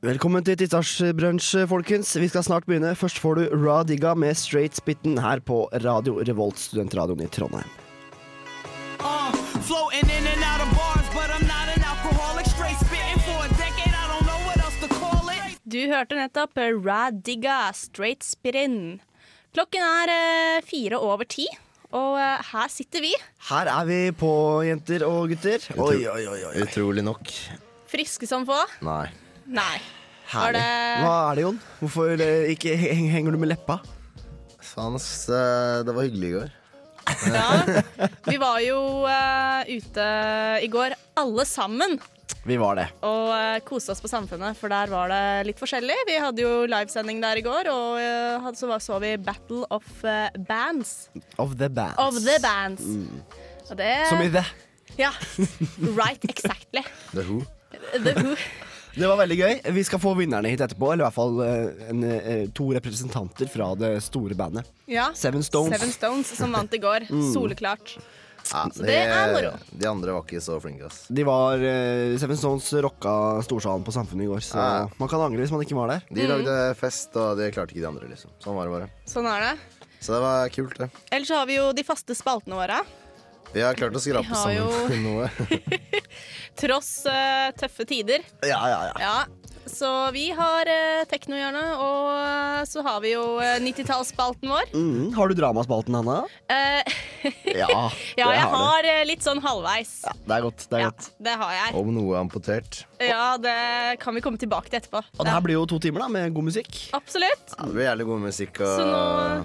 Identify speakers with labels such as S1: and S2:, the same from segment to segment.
S1: Velkommen til tirsdagsbrunsj, folkens. Vi skal snart begynne. Først får du Ra Digga med Straight Spitten her på Radio Revolt, studentradioen i Trondheim.
S2: Uh, floating in and out of bars, but I'm not an alcoholic. Straight spitting for a decade, I don't know what else to call it.
S3: Du hørte nettopp Radiga Straight Spittin. Klokken er eh, fire over ti, og eh, her sitter vi.
S1: Her er vi på, jenter og gutter. Oi, oi, oi. oi.
S4: Utrolig nok.
S3: Friske som få.
S4: Nei.
S3: Nei. Var
S1: Herlig.
S3: det-
S1: Hva er det, Jon? Hvorfor eh, ikke heng- henger du med leppa?
S4: Sans, eh, det var hyggelig i går.
S3: Ja. Vi var jo eh, ute i går alle sammen
S1: Vi var det.
S3: og uh, koste oss på Samfunnet, for der var det litt forskjellig. Vi hadde jo livesending der i går, og eh, hadde- så var- så vi Battle of eh, Bands.
S1: Of the bands.
S3: Of the bands. Og det
S1: Mm. Som i the.
S3: Ja. Right exactly.
S4: The Who.
S3: The Who.
S1: Det var veldig gøy. Vi skal få vinnerne hit etterpå. Eller i hvert fall eh, en, eh, to representanter fra det store bandet.
S3: Ja.
S1: Seven Stones. Mm.
S3: Seven Stones som vant i går. Soleklart.
S4: Ja, eh,
S3: Så det er moro.
S4: De andre var ikke så flinke, ass.
S1: De var, eh, Seven Stones rocka storsalen på Samfunnet i går, så
S4: Ja.
S1: man kan angre hvis man ikke var der.
S3: Mm.
S4: De lagde fest, og det klarte ikke de andre, liksom. Sånn var det bare.
S3: Sånn er det.
S4: Så det var kult, det.
S3: Ellers så har vi jo de faste spaltene våre.
S4: Vi har klart å skrape
S3: Vi har
S4: sammen
S3: jo-
S4: noe.
S3: Tross eh, tøffe tider.
S4: Ja, ja, ja.
S3: Ja. Så vi har uh, teknohjørnet, og eh, så har vi jo eh, 90-tallsspalten vår.
S1: Mm, har du dramaspalten, Hanna?
S3: Eh,
S1: Ja,
S3: ja, jeg har eh, litt sånn halvveis.
S1: Ja, det er godt. det er
S3: Ja,
S1: godt
S3: det har jeg.
S4: Om noe amputert.
S3: Ja, det kan vi komme tilbake til etterpå.
S1: Og det her blir jo to timer da, med god musikk.
S3: Absolutt.
S4: Ja, det blir jævlig god musikk og
S3: Så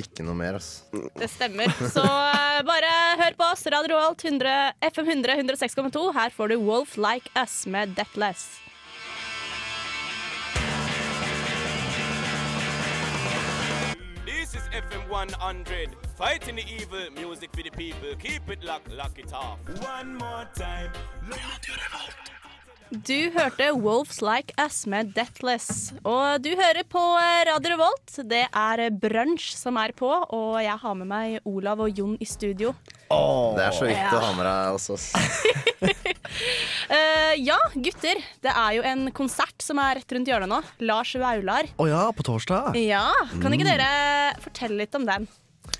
S4: ikke noe mer, ass.
S3: Det stemmer. Så eh, bare hør på oss. Radio Alt 100, FM 100 106,2. Her får du Wolf Like Us med Deathless.
S5: This is FM 100, fighting the evil, music for the people. Keep it locked, lock it off. One more time.
S3: Du hørte Wolves Like Us med Deathless. Og du hører på eh, Radio Revolt. Det er brunsj som er på, og jeg har med meg Olav og Jon i studio.
S4: Det er så viktig
S3: Ja.
S4: å ha med deg også, ass.
S3: Eh, ja, gutter. Det er jo en konsert som er rett rundt hjørnet nå. Lars Vaular.
S1: Å ja, på torsdag.
S3: Ja, Kan
S1: Mm.
S3: ikke dere fortelle litt om den?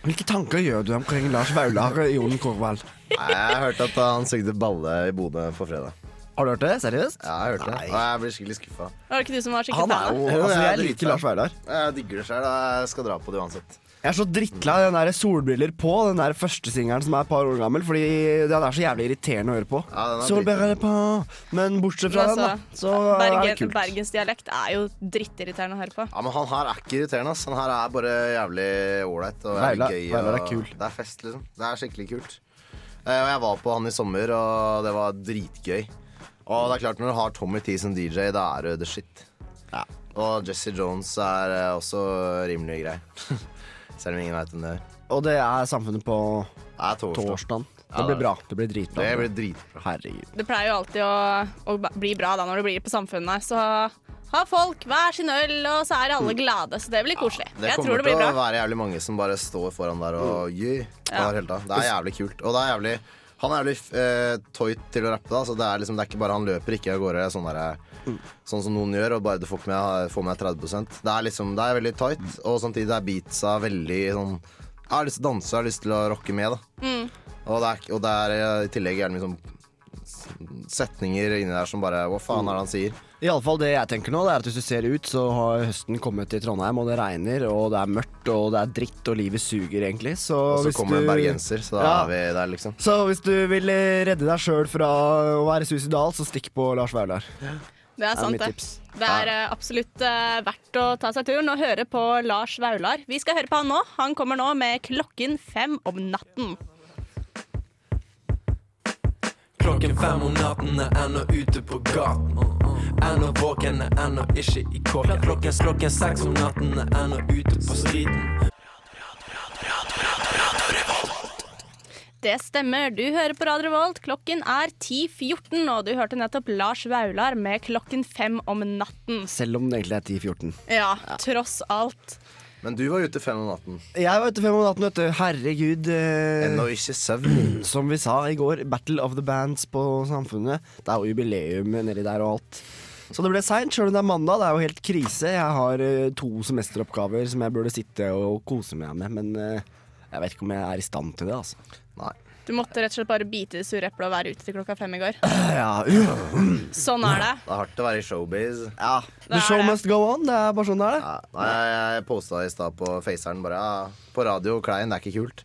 S1: Hvilke tanker gjør du omkring Lars Vaular og Jon Korvald?
S4: Nei, Jeg hørte at han sugde balle i Bodø på fredag.
S1: Har du hørt det? Seriøst?
S4: Ja, jeg hørte det.
S1: Nei.
S4: Og jeg blir skikkelig skuffa.
S3: Var det ikke du som var skikkelig
S1: Han er
S3: fan av?
S1: jo
S4: Ja,
S1: Altså,
S4: jeg er
S1: jeg
S4: dritfan.
S1: liker Lars Vaular.
S4: Jeg digger det sjøl, og jeg skal dra på det uansett.
S1: Jeg er så drittlei av den der solbriller på, den der første singelen som er et par år gammel, fordi den er så jævlig irriterende å høre på.
S4: Ja, den er
S1: solbriller på Men bortsett fra den, da, så er det
S3: altså, Bergen,
S1: kult.
S3: bergensdialekt er jo drittirriterende å høre på.
S4: Ja, men Han her er ikke irriterende. ass. Han her er bare jævlig ålreit. og jævlig
S1: Veilar-
S4: gøy, og-
S1: Veilar er kul.
S4: Det er fest, liksom. Det er skikkelig kult. Eh, Og Jeg var på han i sommer, og det var dritgøy. Og det er klart, når du har Tommy T som DJ, da er du the shit. Og Jesse Jones er eh, også rimelig grei. Selv om ingen veit hvem det er.
S1: Og det er Samfunnet på
S4: Det er torsdag.
S1: torsdag.
S4: Ja,
S1: Det blir
S4: det er-
S1: bra. Det blir dritbra.
S4: Det blir dritbra.
S1: Herregud.
S3: Det pleier jo alltid å, å ba- bli bra da når det blir på samfunnet. Så har folk hver sin øl, og så er alle glade. Så det blir koselig.
S4: Det
S3: jeg
S4: kommer
S3: tror det blir
S4: til
S3: bra.
S4: å
S3: Mm.
S4: være jævlig mange som bare står foran der og yeah, hver hele tatt. Det er jævlig kult. Og det er jævlig han er jævlig eh, tøyt til å rappe, da, så det er, liksom, det er ikke bare han løper ikke av gårde sånn, der,
S3: Mm.
S4: sånn som noen gjør, og bare du får ikke med, får med 30 Det er liksom, det er veldig tight, og samtidig er beatsa veldig sånn Jeg har lyst til å danse, jeg har lyst til å rocke med, da.
S3: Mm.
S4: Og, det er, og det er eh, i tillegg gjerne liksom setninger inni der som bare Hva faen er det han sier?
S1: Iallfall det jeg tenker nå, det er at hvis du ser ut, så har høsten kommet til Trondheim, og det regner, og det er mørkt, og det er dritt, og livet suger, egentlig. Så
S4: Og så
S1: hvis
S4: kommer det
S1: du-
S4: en bergenser, så da
S1: Ja.
S4: er vi der, liksom.
S1: Så hvis du vil eh, redde deg sjøl fra å være suicidal, så stikk på Lars Vaular.
S3: Det er sant,
S1: mitt
S3: det.
S1: tips.
S3: Det er eh, absolutt eh, verdt å ta seg turen og høre på Lars Vaular. Vi skal høre på han nå. Han kommer nå med klokken fem om natten.
S6: Klokken fem om natten er ennå ute på gaten. Ennå våken er ennå ikke i kåken. Klokken, klokken seks om natten er ennå ute på striden.
S3: Det stemmer. Du hører på Radio Revolt. Klokken er 10.14, og du hørte nettopp Lars Vaular med klokken fem om natten.
S1: Selv om det egentlig er 10-14.
S3: Ja, tross alt.
S4: Men du var ute fem om natten.
S1: Jeg var ute fem om natten, vet du. Herregud. eh,
S4: Ennå ikke søvn.
S1: Som vi sa i går, Battle of the Bands på Samfunnet. Det er jo jubileum nedi der og alt. Så det ble seint, sjøl om det er mandag. Det er jo helt krise. Jeg har eh, to semesteroppgaver som jeg burde sitte og kose meg med, men eh, jeg vet ikke om jeg er i stand til det, altså.
S4: Nei.
S3: Du måtte rett og slett bare bite i det sure eplet og være ute til klokka fem i går.
S1: Ja, ja.
S3: Sånn er det.
S4: Det er hardt å være i showbiz.
S1: The show must go on. Det er bare sånn det er.
S4: Ja, nei, jeg jeg posta i stad på Faceren bare ja, På radio, Klein, det er ikke kult.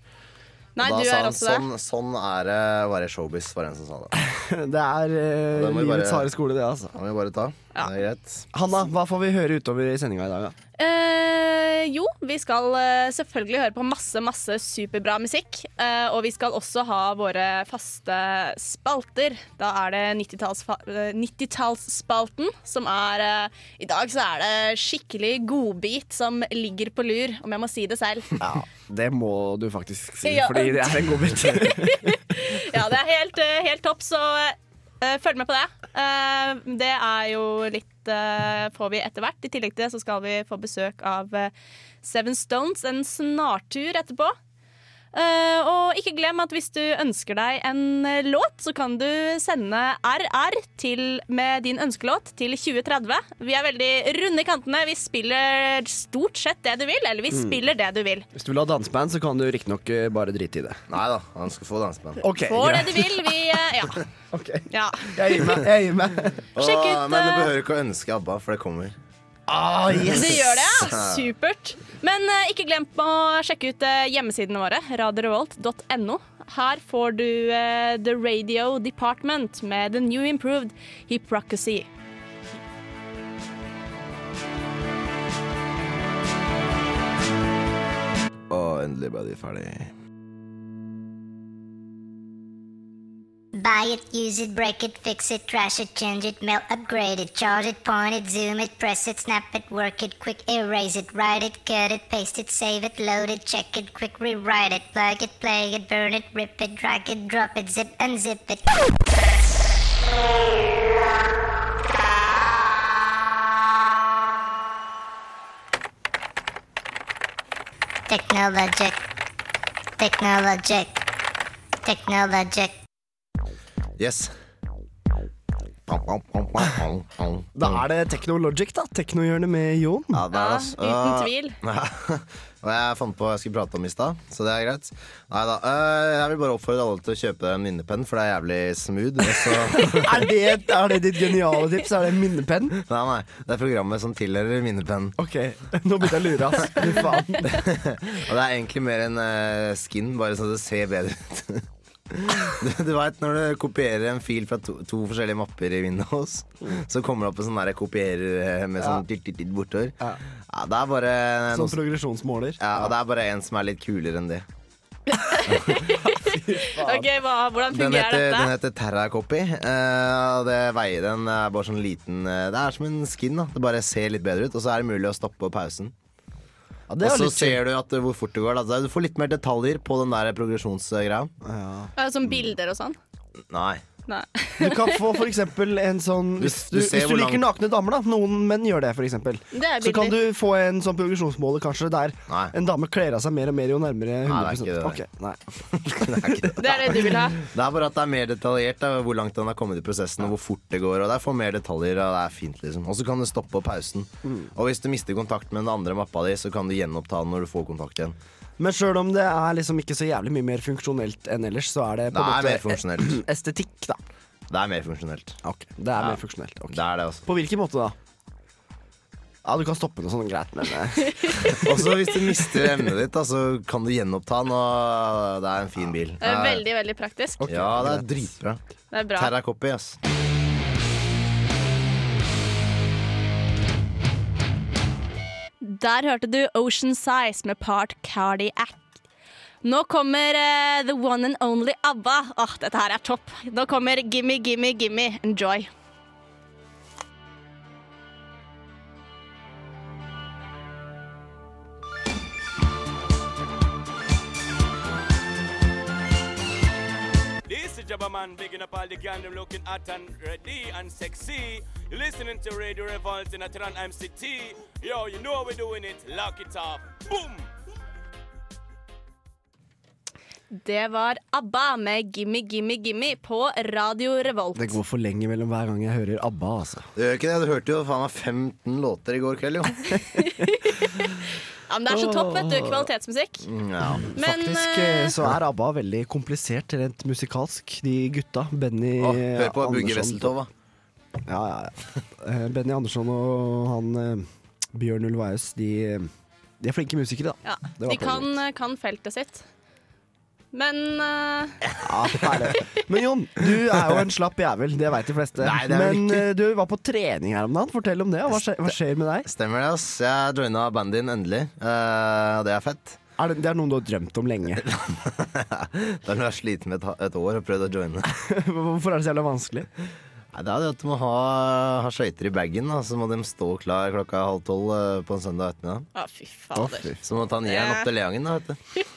S3: Nei,
S4: da
S3: du
S4: sa
S3: er
S4: han
S3: også det.
S4: sånn, sånn er det å være i showbiz, var det en som sa det.
S1: Det, det er eh,
S4: Da må vi
S1: livets
S4: bare-
S1: harde skole, det, altså.
S4: Det må vi bare ta. Det er greit.
S1: Hanna, hva får vi høre utover i sendinga i dag, da?
S3: Eh, jo, vi skal eh, selvfølgelig høre på masse, masse superbra musikk. Eh, og vi skal også ha våre faste spalter. Da er det 90-tallsspalten 90 som er eh, I dag så er det skikkelig godbit som ligger på lur, om jeg må si det selv.
S1: Det må du faktisk si,
S3: Ja.
S1: fordi det er en godbit.
S3: Ja, det er helt, eh, helt topp, så eh, følg med på det. Eh, det er jo litt eh, får vi etter hvert. I tillegg til det så skal vi få besøk av eh, Seven Stones en snartur etterpå. Eh, og ikke glem at hvis du ønsker deg en eh, låt, så kan du sende RR til, med din ønskelåt til 2030. Vi er veldig runde i kantene. Vi spiller stort sett det du vil, eller vi spiller det du vil.
S1: Hvis du vil ha danseband, så kan du riktignok eh, bare drite i det.
S4: Nei da, han skal få danseband.
S1: Ok,
S3: Får det
S1: greit.
S3: du vil. Vi eh, Ja.
S1: Ok.
S3: ja.
S1: Jeg gir meg. Jeg gir meg.
S3: Sjekk
S4: Åh,
S3: ut,
S4: men du
S3: eh,
S4: behøver ikke å ønske ABBA, for det kommer.
S1: Ah, yes.
S3: Det gjør det, ja. Supert. Men eh, ikke glem å sjekke ut eh, hjemmesidene våre, radiorevolt.no. Her får du eh, The Radio Department med The New Improved Hypocrisy.
S4: Og endelig ble de ferdig.
S7: Buy it, use it, break it, fix it, trash it, change it, mail, upgrade it, charge it, point it, zoom it, press it, snap it, work it, quick erase it, write it, cut it, paste it, save it, load it, check it, quick rewrite it, plug it, play it, burn it, rip it, drag it, drop it, zip unzip it. Technologic, technologic, technologic.
S4: Yes. Pam, pam, pam, pam, pam, pam.
S1: Da er det Technologic, da. Teknohjørnet med Jon.
S4: Ja, det er det,
S3: Ja,
S4: altså.
S3: uten
S4: Ah.
S3: tvil.
S4: Og jeg fant på hva jeg skulle prate om i stad, så det er greit. Nei da. Eh, jeg vil bare oppfordre alle til å kjøpe en minnepenn, for det er jævlig smooth. Og så,
S1: Er det, er det ditt geniale tips? Er det minnepenn?
S4: nei, nei, det er programmet som tilhører minnepenn.
S1: Ok, nå begynte jeg å lure, ass. Fy faen.
S4: Og det er egentlig mer en eh, skin, bare så det ser bedre ut. Du, du veit når du kopierer en fil fra to, to forskjellige mapper i Windows, så kommer det opp en sånn der kopierer eh, med sånn titt, titt, titt bortover. Ja.
S1: Ja.
S4: det er bare
S1: Sånn
S4: noe, som-
S1: progresjonsmåler.
S4: ja, og det er bare en som er litt kulere enn de.
S3: Ok, hva, Hvordan
S4: Den
S3: fungerer
S4: heter, den
S3: dette?
S4: heter Terracopy. eh, og det veier den er bare sånn liten eh, Det er som en skin. da Det bare ser litt bedre ut, og så er det mulig å stoppe pausen.
S1: Ja,
S4: Og
S1: det er
S4: så
S1: litt chill.
S4: ser du at, eh, hvor fort det går. Da. Du får litt mer detaljer på den der progresjonsgreia.
S3: Ja, Som bilder og sånn?
S4: Nei.
S3: Nei.
S1: Du kan få for eksempel en sånn Hvis
S4: Hvis
S1: du,
S4: du ser
S1: hvis du
S4: hvor
S1: liker
S4: langt-
S1: nakne damer, da. Noen menn gjør det, for eksempel.
S3: Det er
S1: Så kan du
S3: bilder.
S1: få en sånn progresjonsmåler kanskje der
S4: Nei.
S1: en dame kler av seg mer og mer jo nærmere 100
S4: Nei, det er ikke det.
S1: Ok, nei.
S4: det er ikke det.
S3: Det er det du vil ha?
S4: Det er bare at det er mer detaljert da, hvor langt den har kommet i prosessen, og hvor fort det går. Og det er for mer detaljer, og det er fint, liksom. Og så kan du stoppe pausen.
S1: Mm.
S4: Og hvis du mister kontakt med den andre mappa di, så kan du gjenoppta den når du får kontakt igjen.
S1: Men sjøl om det er liksom ikke så jævlig mye mer funksjonelt enn ellers, så er det på
S4: Det er mer
S1: en måte
S4: funksjonelt.
S1: estetikk, da.
S4: Det er mer funksjonelt.
S1: Det er mer funksjonelt. ok.
S4: Det er det, altså.
S1: På hvilken måte da? Ja, du kan stoppe det sånn greit, men eh,
S4: Og så Altså, hvis du mister emnet ditt, da, så kan du gjenoppta den, og det er en fin bil.
S3: Det er Veldig, veldig praktisk.
S4: Ja, det er dritbra.
S3: Det er bra.
S4: Terracopy, ass.
S3: Der hørte du Ocean Size med part cardiac. Nå kommer eh, the one and only ABBA. Åh, dette her er topp. Nå kommer Gimme, Gimme, Gimme. Enjoy.
S5: This is Jabba Man bigging up all the gang them looking hot and ready and sexy. You're listening to Radio Revolt in Atran MCT. Yo, you know how we're doing it. Lock it up. Boom!
S3: Det var ABBA med 'Gimme, gimme, gimme' på Radio Revolt.
S1: Det går for lenge mellom hver gang jeg hører ABBA, altså.
S4: Det gjør ikke det. Du hørte jo faen meg 15 låter i går kveld, jo.
S3: Ja, men det er så topp, vet du. Kvalitetsmusikk.
S4: Ja.
S3: Men
S1: Mm, Faktisk eh,
S3: eh,
S1: så er ABBA veldig komplisert rent musikalsk, de gutta. Benny
S4: Å,
S1: eh,
S4: hør på Bugge
S1: Andersson.
S4: Wesseltov, da.
S1: Ja, ja, ja. Eh, Benny Andersson og han eh, Bjørn Ulvaeus, de, eh, de er flinke musikere, da.
S3: ja,
S1: Det var
S3: de kan, eh,
S1: poenget
S3: kan feltet sitt. Men eh,
S1: Ja, herlig. Men Jon, du er jo en slapp jævel, det veit de fleste.
S4: Nei, det er vel
S1: Men
S4: ikke.
S1: eh, du var på trening her om dagen, fortell om det. Hva skjer, hva skjer med deg?
S4: Stemmer det, ass. Jeg joina bandet din endelig, eh, og det er fett.
S1: Er det, det er noen du har drømt om lenge.
S4: Da har jeg vært sliten med et, ha- et år og prøvd å joine.
S1: Hvorfor er det så jævla vanskelig?
S4: Nei, det er det at du må ha, ha skøyter i bagen, da, så må de stå klar klokka halv tolv eh, på en søndag ettermiddag.
S3: Å, fy fader.
S4: Så må du ta en jern opp til Leangen, da, vet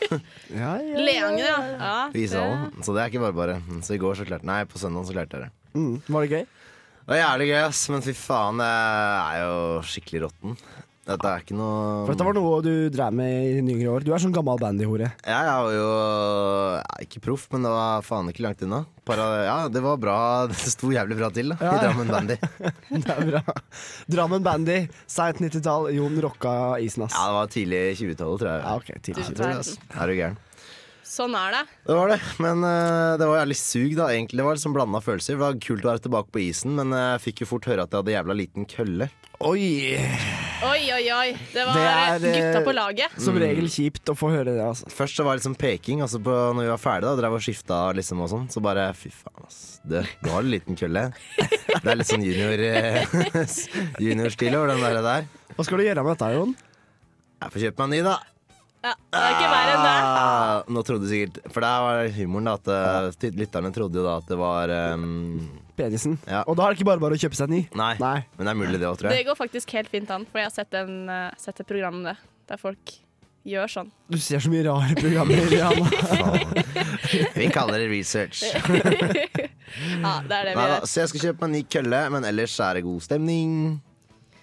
S4: du.
S1: Ja, ja.
S3: Leangen, ja. ja
S4: På ishallen. Så det er ikke bare bare. Så i går så klarte Nei, på søndag så klarte jeg det.
S1: Mm, var det gøy?
S4: Det var jævlig gøy, ass, men fy faen, jeg er jo skikkelig råtten. Dette er ikke noe
S1: For dette var noe du drev med i nyere år. Du er sånn gammel bandyhore.
S4: Ja, jeg var jo ja, ikke proff, men det var faen ikke langt unna. Para, ja, det var bra. Det sto jævlig bra til da, i Drammen Bandy. Ja,
S1: Det er bra. Drammen Bandy, seint 90-tall. Jon rocka isen, ass.
S4: det var tidlig 20-tallet, tror jeg.
S1: Ja, ok, tidlig
S4: Jeg tror det, ass. Er du gæren?
S3: Sånn er det.
S4: Det var det, men eh, det var jævlig sug, da. egentlig Det var liksom blanda følelser. Det var kult å være tilbake på isen, men eh, jeg fikk jo fort høre at jeg hadde jævla liten kølle.
S1: Oi!
S3: Oi, oi, oi. Det var
S1: Det er, eh,
S3: gutta på laget.
S1: Som regel kjipt å få høre det, altså.
S4: Først så var det liksom peking, og så på, når vi var ferdige, da, drev og skifta liksom og sånn, så bare fy faen, ass. Du, du har en liten kølle. Det er litt sånn junior eh, juniorstil over den der. der.
S1: Hva skal du gjøre med dette, Jon?
S4: Jeg får kjøpe meg en ny, da.
S3: Ja, det er ikke verre enn det.
S4: Ah, nå trodde du sikkert For der var humoren, da. At eh, ty- lytterne trodde jo da at det var ehm,
S1: Penisen.
S4: Ja.
S1: Og da er det ikke bare bare å kjøpe seg en ny.
S4: nei,
S1: Nei.
S4: men det er mulig, det òg, tror
S3: Det
S4: jeg.
S3: går faktisk helt fint an, for jeg har sett, en, eh, sett et program om det, der folk gjør sånn.
S1: Du ser så mye rare programmer. Rihanna.
S4: Vi kaller det research.
S3: Ja, det er det vi
S1: Ah,
S4: Nei, da,
S3: gjør.
S4: så jeg skal kjøpe meg en ny kølle, men ellers er det god stemning.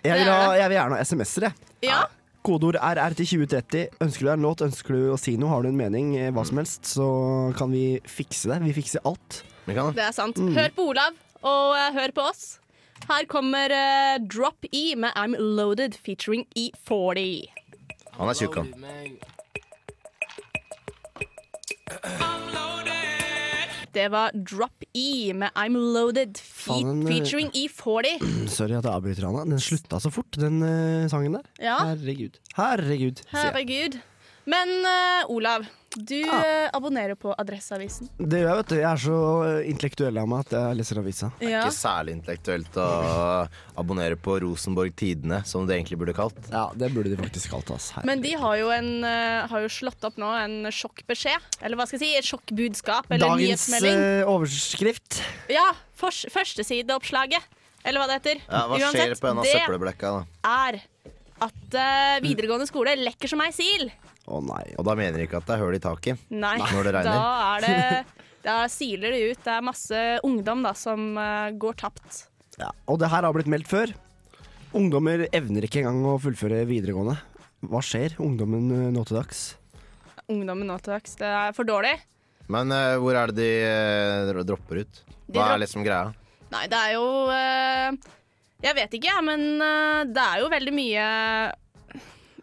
S1: Jeg vil, ha, jeg vil gjerne ha SMS-er, jeg.
S3: Ja,
S1: Kodeord RR til 2030. Ønsker du deg en låt, ønsker du å si noe, har du en mening, eh, hva som helst, så kan vi fikse det. Vi fikser alt.
S4: Vi kan,
S3: det er sant.
S4: Mm.
S3: Hør på Olav, og eh, hør på oss. Her kommer eh, Drop E med I'm Loaded featuring E E40.
S4: han er tjukk, han.
S3: Det var Drop E med I'm Loaded fe
S1: Faen,
S4: eh,
S1: den-
S3: featuring E E40.
S1: Sorry at jeg avbryter, Anna. Den slutta så fort, den eh, sangen der.
S3: Ja.
S1: Herregud. Herregud. sier jeg.
S3: Herregud. Men eh, Olav, du
S4: Ah.
S3: eh, abonnerer på Adresseavisen.
S1: Det gjør jeg, vet du. Jeg er så eh, intellektuell av meg at jeg leser avisa.
S3: Ja.
S4: Ikke særlig intellektuelt å abonnere på Rosenborg Tidene, som det egentlig burde kalt.
S1: Ja, det burde de faktisk kalt oss. Her.
S3: Men de har jo, en, eh, har jo slått opp nå en sjokkbeskjed. Eller hva skal jeg si, et sjokkbudskap eller en
S1: Dagens
S3: nyhetsmelding.
S1: eh, overskrift.
S3: Ja, fors- Førstesideoppslaget, eller hva det heter.
S4: Ja, hva skjer på en av
S3: det
S4: søppelblekka, da?
S3: er at eh, videregående skole lekker som ei sil.
S1: Å nei.
S4: Og da mener de ikke at det er høl i taket.
S3: Nei,
S4: Når det regner.
S3: da er det Da siler det ut. Det er masse ungdom da som eh, går tapt.
S1: Ja, og det her har blitt meldt før. Ungdommer evner ikke engang å fullføre videregående. Hva skjer ungdommen eh, nå til dags?
S3: Ungdommen nå til dags. Det er for dårlig.
S4: Men eh, hvor er det de eh, dro- dropper ut?
S3: De
S4: Hva
S3: dropp-
S4: er liksom greia?
S3: Nei, det er jo eh, Jeg vet ikke, jeg, men eh, det er jo veldig mye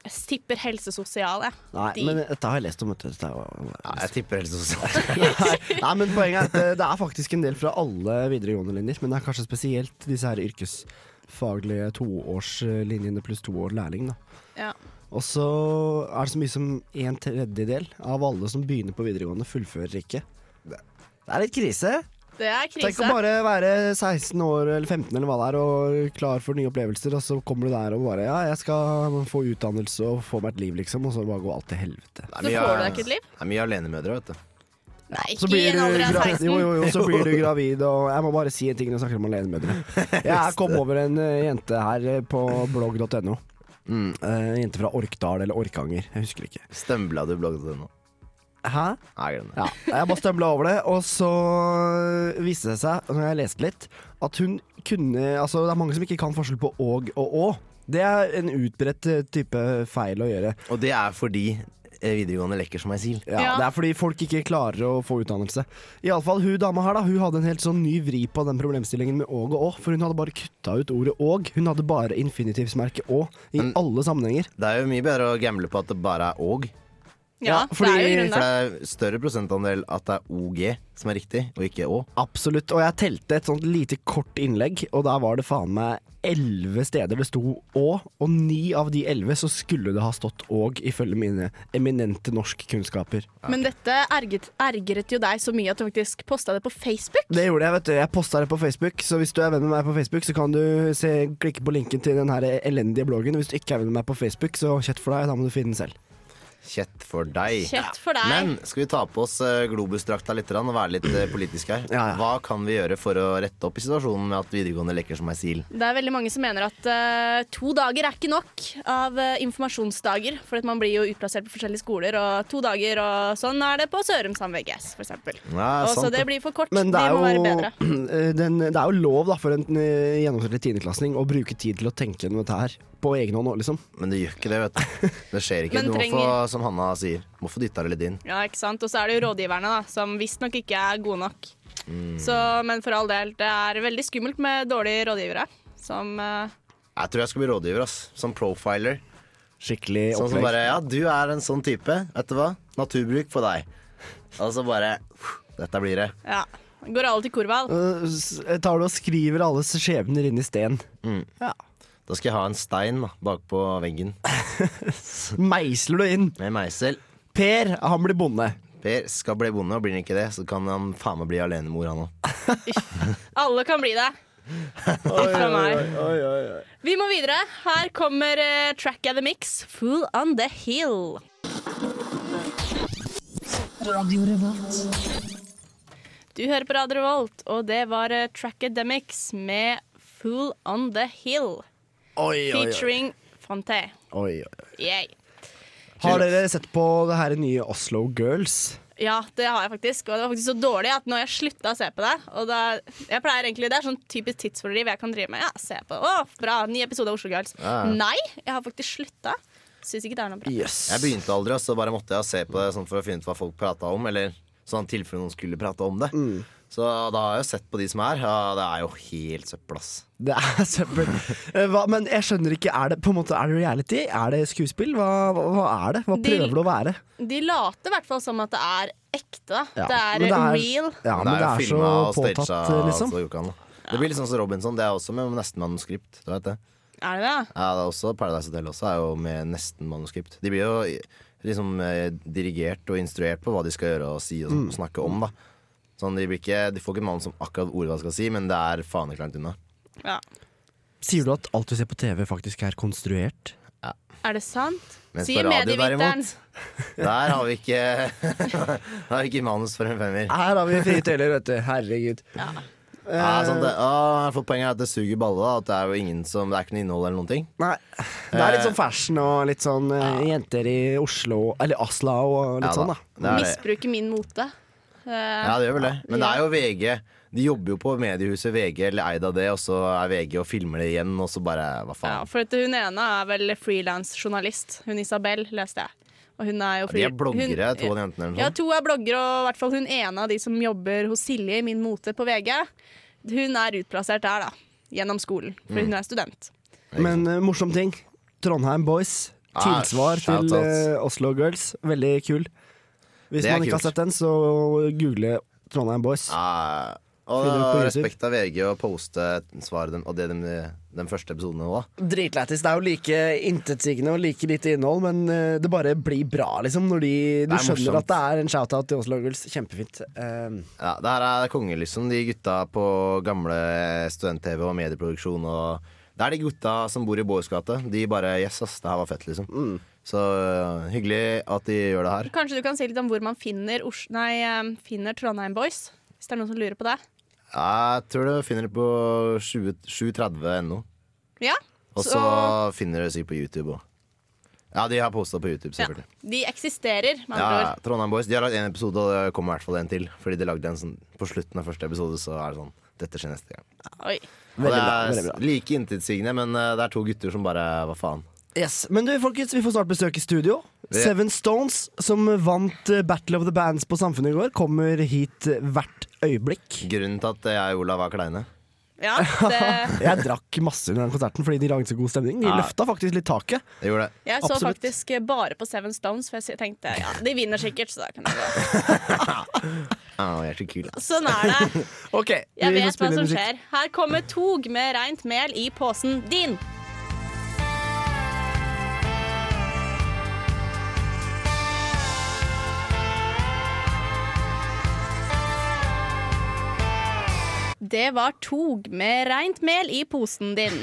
S3: Jeg tipper helsesosial, jeg.
S1: Nei,
S3: De-
S1: men dette har jeg lest om. vet du. Dette er jo-
S4: Nei, jeg tipper helse og sosial.
S1: Nei, men Poenget er at eh, det er faktisk en del fra alle videregående linjer, men det er kanskje spesielt disse her yrkesfaglige toårslinjene pluss to år lærling. da.
S3: Ja.
S1: Og så er det så mye som en tredjedel av alle som begynner på videregående, fullfører ikke. Det er litt krise.
S3: Det er
S1: Tenk
S3: krise.
S1: å bare være 16 år eller 15 eller hva det er og klar for nye opplevelser, og så kommer du der og bare Ja, jeg skal få utdannelse og få meg et liv, liksom, og så bare gå alt til helvete.
S4: Det er
S3: Så
S4: mye-
S3: får du deg ikke et liv?
S4: Det er mye alenemødre, vet du.
S3: Nei, ikke
S1: Så
S3: i
S1: blir,
S3: en
S1: du
S3: alder av
S1: gravid,
S3: 16.
S1: jo, jo, jo, så blir du gravid, og jeg må bare si en ting når jeg snakker om alenemødre. Jeg kom over en eh, jente her eh, på blogg.no.
S4: Mm.
S1: Eh, En jente fra Orkdal eller Orkanger, jeg husker ikke.
S4: Stømbla du blogget til nå?
S1: Hæ?
S4: Nei, glem det.
S1: Ja, jeg bare stømla over det, og så viste det seg, når jeg leste litt, at hun kunne Altså, det er mange som ikke kan forskjell på og og å. Det er en utbredt eh, type feil å gjøre.
S4: Og det er fordi eh, videregående lekker som ei sil.
S1: Ja,
S3: Ja.
S1: Det er fordi folk ikke klarer å få utdannelse. Iallfall hun dama her, da. Hun hadde en helt sånn ny vri på den problemstillingen med åg og å. For hun hadde bare kutta ut ordet åg. Hun hadde bare infinitivsmerket å i alle sammenhenger.
S4: Det er jo mye bedre å gamble på at det bare er åg.
S3: Ja, det er jo i
S1: fordi-
S3: grunnen
S4: For
S3: det.
S4: det er større prosentandel at det er OG som er riktig, og ikke Å.
S1: Absolutt. Og jeg telte et sånt lite kort innlegg, og der var det faen meg elleve steder det sto å, og ni av de elleve så skulle det ha stått åg, ifølge mine eminente norskkunnskaper.
S3: Men dette erget, ergret jo deg så mye at du faktisk posta det på Facebook.
S1: Det gjorde jeg, vet du. Jeg posta det på Facebook, så hvis du er venn med meg på Facebook, så kan du se, klikke på linken til den her elendige bloggen. Hvis du ikke er venn med meg på Facebook, så kjett for deg, da må du finne den selv.
S4: Kjett for deg.
S3: Kjett for deg.
S4: Men skal vi ta på oss eh, globusdrakta litt grann og være litt eh, politiske her?
S1: Ja, ja.
S4: Hva kan vi gjøre for å rette opp i situasjonen med at videregående lekker som ei sil?
S3: Det er veldig mange som mener at eh, to dager er ikke nok av eh, informasjonsdager. For at man blir jo utplassert på forskjellige skoler, og to dager og sånn er det på Sørum Sam VGS, for eksempel.
S4: Ja,
S3: og så
S4: sant
S3: det
S4: det.
S3: blir for kort.
S1: Men det er,
S3: de må være
S1: jo, eh,
S3: bedre.
S1: den, det er jo lov da, for en eh, gjennomsnittlig tiendeklassing å bruke tid til å tenke gjennom dette her på egen hånd òg, liksom.
S4: Men det gjør ikke det, vet du. Det skjer ikke.
S3: Men
S4: Du må få,
S3: trenger-
S4: som Hanna sier, må få dytta det litt inn.
S3: Ja, ikke sant? Og så er det jo rådgiverne, da, som visstnok ikke er gode nok.
S1: Mm.
S3: Så, men for all del, det er veldig skummelt med dårlige rådgivere. Som eh,
S4: Jeg tror jeg skal bli rådgiver, ass. Som profiler.
S1: Skikkelig
S4: Sånn som
S1: opplegg.
S4: bare Ja, du er en sånn type. Vet du hva? Naturbruk på deg. Og så bare Dette blir det.
S3: ja, går alle til Korval.
S1: Eh, s- tar du og skriver alles skjebner inn i sten. Ja.
S4: Da skal jeg ha en stein da, bakpå veggen
S1: Meisler du inn.
S4: med meisel.
S1: Per, han blir bonde.
S4: Per skal bli bonde, og blir han ikke det, så kan han faen meg bli alenemor, han òg.
S3: Alle kan bli det. Uff a meg. Vi må videre. Her kommer eh, Track of the Mix, Fool on the Hill. Du hører på Radio Revolt, og det var eh, Track of the Mix med Fool on the Hill,
S1: Oi,
S3: featuring Fonte. Yay.
S1: Har dere sett på det her nye Oslo Girls?
S3: Ja, det har jeg faktisk. Og det var faktisk så dårlig at nå har jeg slutta å se på det. Og da, jeg pleier egentlig, Det er sånn typisk tidsfordriv jeg kan drive med. Ja, se på, å, bra, Ny episode av Oslo Girls.
S4: Ja.
S3: Nei, jeg har faktisk slutta. Syns ikke det er noe bra.
S1: Yes.
S4: Jeg begynte aldri, og så bare måtte jeg se på det sånn for å finne ut hva folk prata om. Eller sånn tilfelle noen skulle prate om det.
S1: Mm.
S4: Så da har jeg jo sett på de som er. Ja, det er jo helt søppel, ass.
S1: Det er søppel. Eh, Hva, men jeg skjønner ikke. Er det, på en måte, er det reality? Er det skuespill? Hva, hva, hva er det? Hva
S3: De-
S1: prøver det å være?
S3: De later i hvert fall som at det er ekte. da.
S1: Ja,
S3: Det, er
S1: men
S3: real.
S1: Ja, men det er,
S4: filma og altså.
S1: så påtatt,
S4: stagea,
S1: eh,
S4: så
S1: liksom.
S4: det går ikke an, da. Det blir litt sånn som Robinson. Det er også med nesten manuskript. Du vet det?
S3: Er det det?
S4: Ja, det er også Paradise Hotel også er jo med nesten manuskript. De blir jo i- liksom eh, dirigert og instruert på hva de skal gjøre og si og
S1: Mm.
S4: sånn, og snakke om. da Sånn, de, blir ikke, de får ikke en mann som akkurat ordet hva skal si, men det er faen ikke langt unna.
S3: Ja.
S1: Sier du at alt du ser på TV, faktisk er konstruert?
S3: Er det sant?
S4: Mens
S3: Sier
S4: på radio,
S3: medieviteren.
S4: derimot, der har vi ikke Der har vi ikke manus for en femmer.
S1: Her har vi frie tøyler, vet du. Herregud.
S4: Ja, sånn, det, å, for poenget er at det suger balle, da, at det er jo ingen som Det er ikke noe innhold eller noen ting.
S1: Nei. Det er litt sånn fashion og litt sånn eh, jenter i Oslo, eller Asla og litt
S4: Ja,
S1: sånn,
S4: da.
S1: da.
S4: Det er det.
S3: Misbruker min mote. Eh,
S4: Ja, det gjør vel det. Men det
S3: Ja.
S4: er jo VG. De jobber jo på mediehuset VG eller eid av det, og så er VG og filmer det igjen, og så bare Hva faen.
S3: Ja, for at hun ene er vel frilansjournalist. Hun Isabel, leste jeg. Og hun er jo
S4: de er
S3: fri-
S4: bloggere,
S3: hun-
S4: to av de jentene eller noe
S3: Ja,
S4: sånt.
S3: to er bloggere, og i hvert fall hun ene av de som jobber hos Silje i Min Mote på VG. Hun er utplassert der, da. Gjennom skolen, for
S4: Mm.
S3: hun er student.
S1: Men eh, morsom ting. Trondheim Boys.
S4: Ah,
S1: Tilsvar
S4: shout
S1: til
S4: out.
S1: eh, Oslo Girls. Veldig kul. Hvis
S4: Det er
S1: man ikke har
S4: kult.
S1: sett den, så google Trondheim Boys.
S4: Ja,
S1: Finner du
S4: og
S1: på YouTube?
S4: respekt av VG å poste svaret dem, og det dem, den første episoden nå, da.
S1: Dritlættis. Det er jo like intetsigende og like lite innhold, men eh, det bare blir bra, liksom. Når de, du
S4: er
S1: skjønner
S4: morsomt.
S1: at det er en shout-out til Oslo Girls. Kjempefint. Eh,
S4: Ja, det her er konge, liksom. De gutta på gamle student-TV og medieproduksjon og Det er de gutta som bor i Boys gate. De bare Yes, ass, det her var fett, liksom. Så øh, hyggelig at de gjør det her.
S3: Kanskje du kan si litt om hvor man finner, Os nei, eh, finner Trondheim Boys? Hvis det er noen som lurer på det.
S4: Jeg tror du finner det på 20 730.no.
S3: Ja,
S4: Og så finner du det sikkert på YouTube òg. Ja, de har posta på YouTube,
S3: ja,
S4: selvfølgelig.
S3: De eksisterer, med
S4: Ja,
S3: andre ord.
S4: Trondheim Boys de har lagd én episode, og det kommer i hvert fall en til. Fordi de lagde en sånn på slutten av første episode, så er det sånn Dette skjer neste gang.
S3: Oi.
S4: Og
S1: veldig
S4: det
S1: bra.
S4: er
S1: Veldig bra.
S4: øh, like intetsigende, men eh, det er to gutter som bare Hva faen?
S1: Yes, Men du, folkens, vi får snart besøk i studio.
S4: Det-
S1: Seven Stones, som vant eh, Battle of the Bands på Samfunnet i går, kommer hit eh, hvert øyeblikk.
S4: Grunnen til at eh, jeg og Olav var kleine.
S3: Ja, det,
S1: Jeg drakk masse under den konserten fordi de lagde så god stemning. De
S4: Ja.
S1: løfta faktisk litt taket.
S4: Jeg gjorde det.
S3: jeg så
S1: Absolutt.
S3: faktisk bare på Seven Stones, for jeg tenkte ja, de vinner sikkert, så da kan det gå.
S4: Ah, jeg er så kul. ass.
S3: Sånn er det.
S1: Ok,
S3: Jeg vet hva som skjer. Her kommer tog med reint mel i posen din. Det var tog med reint mel i posen din.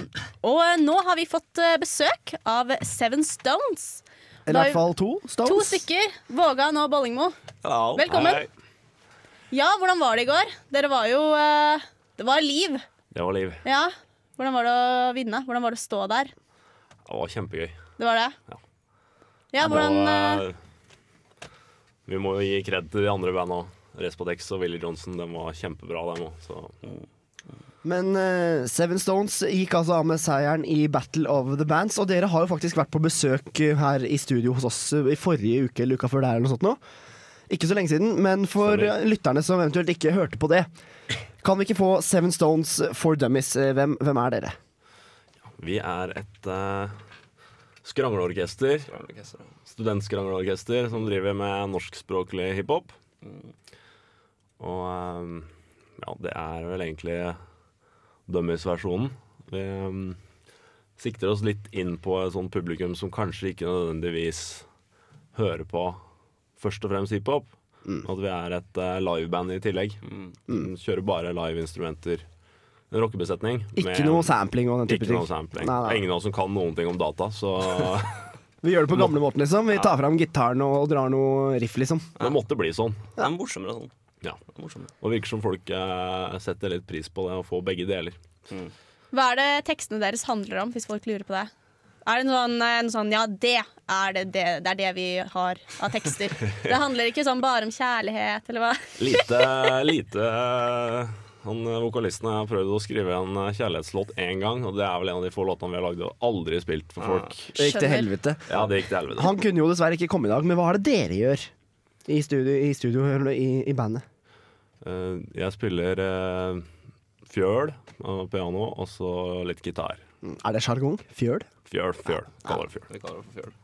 S3: Og eh, nå har vi fått eh, besøk av Seven Stones.
S1: Eller i hvert fall to Stones.
S3: To stykker. Vågan og Bollingmo.
S5: Hello.
S3: Velkommen. Ja, hvordan var det i går? Dere var jo eh, Det var liv.
S8: Det var liv.
S3: Ja. Hvordan var det å vinne? Hvordan var det å stå der?
S8: Det var kjempegøy.
S3: Det var det?
S8: Ja.
S3: Ja, hvordan eh,
S8: Og, eh, vi må jo gi kred til de andre banda. Respadex og Willy Johnson de var kjempebra, dem òg. Så
S1: Men eh, Seven Stones gikk altså av med seieren i Battle of the Bands. Og dere har jo faktisk vært på besøk eh, her i studio hos oss eh, i forrige uke eller uka før det her. eller noe sånt nå. Ikke så lenge siden, men for
S8: Stemmer.
S1: eh, lytterne som eventuelt ikke hørte på det. Kan vi ikke få Seven Stones for Dummies? Eh, Hvem, hvem er dere?
S8: vi er et eh, skrangleorkester. Studentskrangleorkester som driver med norskspråklig hiphop. Og eh, ja, det er vel egentlig dummies-versjonen. Vi eh, sikter oss litt inn på et sånt publikum som kanskje ikke nødvendigvis hører på først og fremst hiphop.
S1: Mm.
S8: At vi er et eh, liveband i tillegg. Mm. Kjører bare liveinstrumenter. En rockebesetning.
S1: Ikke
S8: med-
S1: noe sampling og den type
S8: Ikke
S1: ting.
S8: noe sampling.
S1: Nei,
S8: Det
S1: nei.
S8: er ingen av oss som kan noen ting om data, så
S1: Vi gjør det på gamlemåten, liksom. Vi tar fram gitaren og, og drar noe riff, liksom.
S8: det måtte bli sånn.
S9: Det er morsommere sånn.
S8: Ja.
S9: Det er morsommere.
S8: Og virker som folk eh, setter litt pris på det å få begge deler.
S3: Hva er det tekstene deres handler om, hvis folk lurer på det? Er det noen, eh, en sånn Ja, det er det, det, det er det vi har av tekster. Det handler ikke sånn bare om kjærlighet, eller hva?
S8: Lite, lite eh, han eh, Vokalisten har prøvd å skrive en eh, kjærlighetslåt én gang, og det er vel en av de få låtene vi har lagd og aldri spilt for folk.
S1: Det gikk til
S3: Skjønner.
S1: helvete.
S8: Ja, det gikk til helvete.
S1: Han kunne jo dessverre ikke komme i dag, men hva er det dere gjør i studio, i, studio, eller i, i bandet?
S8: Eh, Jeg spiller eh, fjøl og piano, og så litt gitar.
S1: Er det sjargong? Fjøl?
S8: Fjøl, fjøl. Kaller det fjøl.
S9: Vi kaller det for fjøl.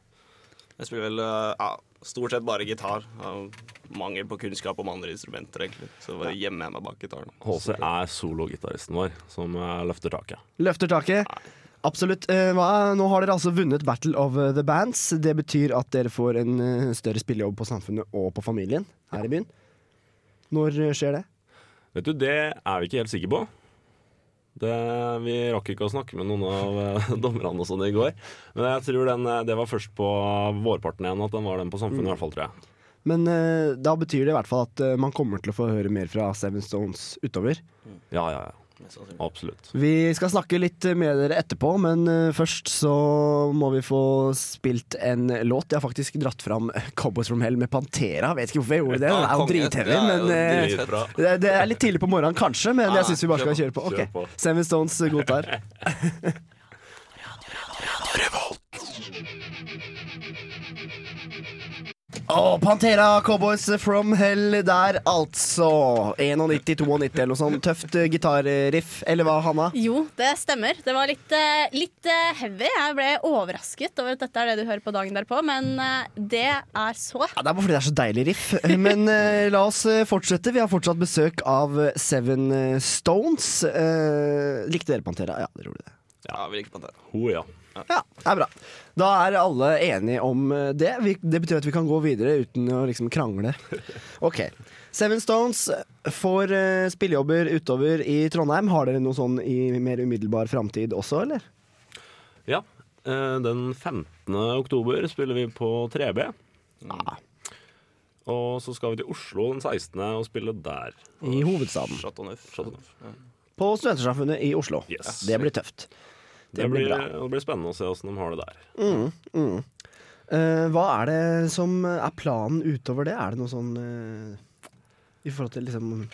S9: Jeg spiller vel eh, ja, stort sett bare gitar. Av mangel på kunnskap om andre instrumenter, egentlig. Så bare gjemmer jeg meg bak gitaren.
S8: HC er sologitaristen vår, som eh, løfter taket.
S1: Løfter taket. Absolutt. Eh, hva, nå har dere altså vunnet Battle of the Bands. Det betyr at dere får en eh, større spillejobb på samfunnet og på familien her i byen. Når eh, skjer det?
S8: Vet du, det er vi ikke helt sikre på. Det, vi rakk ikke å snakke med noen av eh, dommerne og sånn i går. Men jeg tror den, eh, det var først på vårparten igjen at den var den på Samfunnet, i hvert fall, tror jeg.
S1: Men eh, da betyr det i hvert fall at eh, man kommer til å få høre mer fra Seven Stones utover.
S8: Ja, ja, ja.
S9: Mest sannsynlig.
S8: Absolutt.
S1: Vi skal snakke litt med dere etterpå, men eh, først så må vi få spilt en låt. Jeg har faktisk dratt fram Cowboys from Hell med Pantera. Vet ikke hvorfor jeg gjorde det, den er jo drithevig, men eh,
S8: Dritbra.
S1: det det er litt tidlig på morgenen kanskje, men jeg syns vi bare skal
S9: kjør
S1: kjøre på.
S8: Kjør på.
S1: Ok, Seven Stones godtar. Å, Pantera Cowboys from Hell der, altså. 91-92 eller noe sånt. Tøft eh, gitarriff, eller hva, Hanna?
S3: Jo, det stemmer. Det var litt, eh, litt eh, heavy. Jeg ble overrasket over at dette er det du hører på dagen derpå, men eh, det er så
S1: Ja, Det er bare fordi det er så deilig riff. Men eh, la oss eh, fortsette. Vi har fortsatt besøk av eh, Seven eh, Stones. Eh, likte dere Pantera? Ja, dere gjorde det.
S9: Ja, vi liker Pantera.
S8: Ho, ja.
S1: Ja, det er bra. Da er alle enige om eh, det. Vi, det betyr at vi kan gå videre uten å liksom krangle. Ok. Seven Stones får eh, spillejobber utover i Trondheim. Har dere noe sånn i mer umiddelbar framtid også, eller?
S8: ja. eh, Den 15. oktober spiller vi på 3B. Mm.
S1: Ah,
S8: Og så skal vi til Oslo den 16. og spille der.
S1: I hovedstaden.
S9: Chateau Neuf.
S1: På Studentersamfunnet i Oslo.
S8: Yes.
S1: Det blir tøft.
S8: Det, blir, det blir spennende å se åssen de har det der.
S1: Mm. Eh, hva er det som er planen utover det? Er det noe sånn eh, I forhold til liksom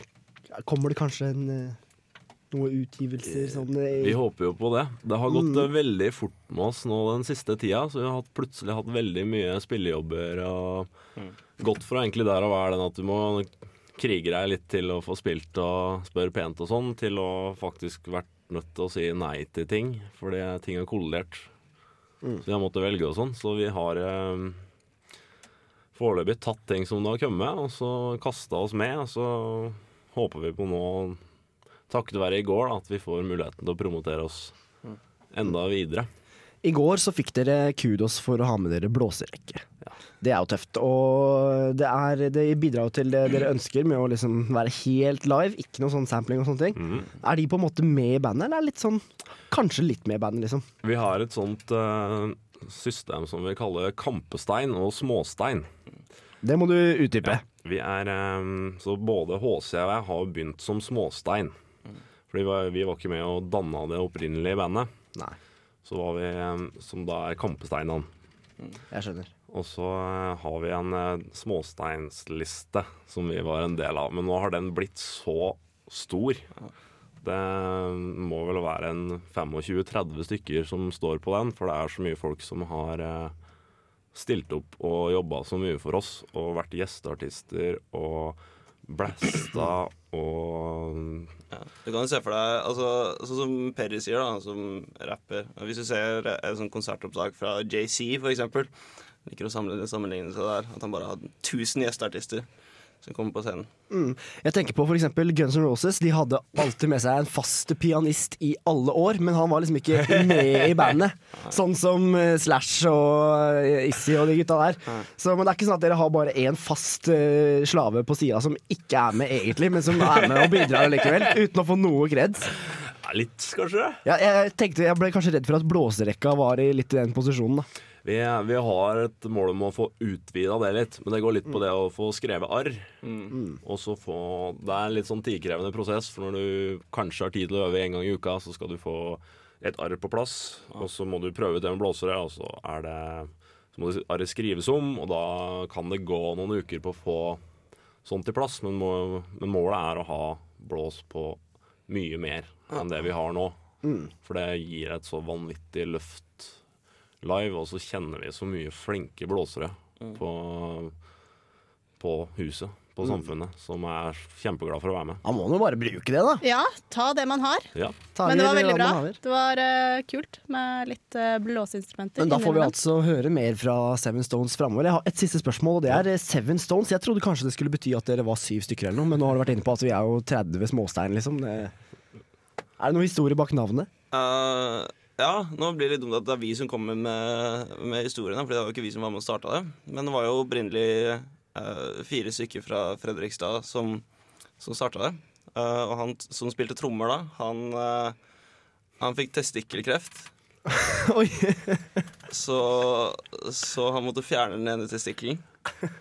S1: Kommer det kanskje en eh, noen utgivelser sånn eh,
S8: Vi håper jo på det. Det har gått eh, veldig fort med oss nå den siste tida. Så vi har hatt, plutselig hatt veldig mye spillejobber og gått fra egentlig der å være den at du må krige deg litt til å få spilt og spørre pent og sånn, til å faktisk vært nødt til å si nei til ting fordi ting har kollidert. Så vi har måttet velge og sånn. Så vi har eh, foreløpig tatt ting som det har kommet, og så kasta oss med, og så håper vi på nå takket være i går da, at vi får muligheten til å promotere oss enda videre.
S1: I går så fikk dere kudos for å ha med dere blåserekke. Det er jo tøft. Og det, er, det bidrar jo til det dere ønsker med å liksom være helt live, ikke noe sånn sampling og sånne ting. Er de på en måte med i bandet, eller er det litt sånn Kanskje litt med i bandet, liksom.
S8: Vi har et sånt eh, system som vi kaller kampestein og småstein.
S1: Det må du utdype.
S8: Vi er, eh, så både HC og jeg har begynt som småstein. Fordi vi var- vi var ikke med og danna det opprinnelige bandet.
S1: Nei,
S8: Så var vi, eh, som da er kampesteinene.
S1: jeg skjønner.
S8: Og så eh, har vi en eh, småsteinsliste som vi var en del av. Men nå har den blitt så stor. Det eh, må vel være en 25-30 stykker som står på den, for det er så mye folk som har eh, stilt opp og jobba så mye for oss, og vært gjesteartister og blasta og
S9: Ja. Du kan jo se for deg altså, Sånn som Perry sier, da, som rapper Hvis du ser et sånt konsertopptak fra JC, for eksempel Liker å sammenligne, sammenligne seg der. At han bare hadde 1000 gjesteartister som kommer på scenen.
S1: Mm. Jeg tenker på for eksempel Guns N' Roses. De hadde alltid med seg en fast pianist i alle år, men han var liksom ikke med i bandet. Sånn som eh, Slash og eh, Issy og de gutta der. Så, men det er ikke sånn at dere har bare én fast eh, slave på sida som ikke er med egentlig, men som er med og bidrar likevel. Uten å få noe kreds.
S8: Ja, eh, Litt, kanskje?
S1: Ja, jeg, tenkte, jeg ble kanskje redd for at blåserekka var i litt i den posisjonen, da.
S8: Vi, vi har et mål om å få utvida det litt, men det går litt på det å få skrevet arr. Og så få Det er en litt sånn tidkrevende prosess, for når du kanskje har tid til å øve en gang i uka, så skal du få et arr på plass, og så må du prøve ut det med blåsere, og så er det Så må det arret skrives om, og da kan det gå noen uker på å få sånt til plass, men, må, men målet er å ha blås på mye mer enn det vi har nå. For det gir et så vanvittig løft live, og så kjenner vi så mye flinke blåsere på, på huset, på samfunnet, som er kjempeglade for å være med.
S1: Han må nå bare bruke det, da.
S3: Ja, ta det man har.
S8: Ja.
S1: Tager
S3: Men det var veldig
S1: hva
S3: bra.
S1: man har.
S3: Det var eh, kult med litt eh, blåseinstrumenter.
S1: Men da får vi
S3: innimellom.
S1: altså høre mer fra Seven Stones framover. Jeg har et siste spørsmål, og det er eh, Seven Stones. Jeg trodde kanskje det skulle bety at dere var syv stykker eller noe, men nå har du vært inne på at vi er jo 30 småstein, liksom. Det... Er det noen historie bak navnet?
S9: Eh, ja, nå blir det litt dumt at det er vi som kommer med, med historiene, for det var jo ikke vi som var med og starta det. Men det var jo opprinnelig eh, fire stykker fra Fredrikstad som, som starta det. Eh, og han t- som spilte trommer da, han, eh, han fikk testikkelkreft.
S1: Oi.
S9: Så, så han måtte fjerne den ene testikkelen.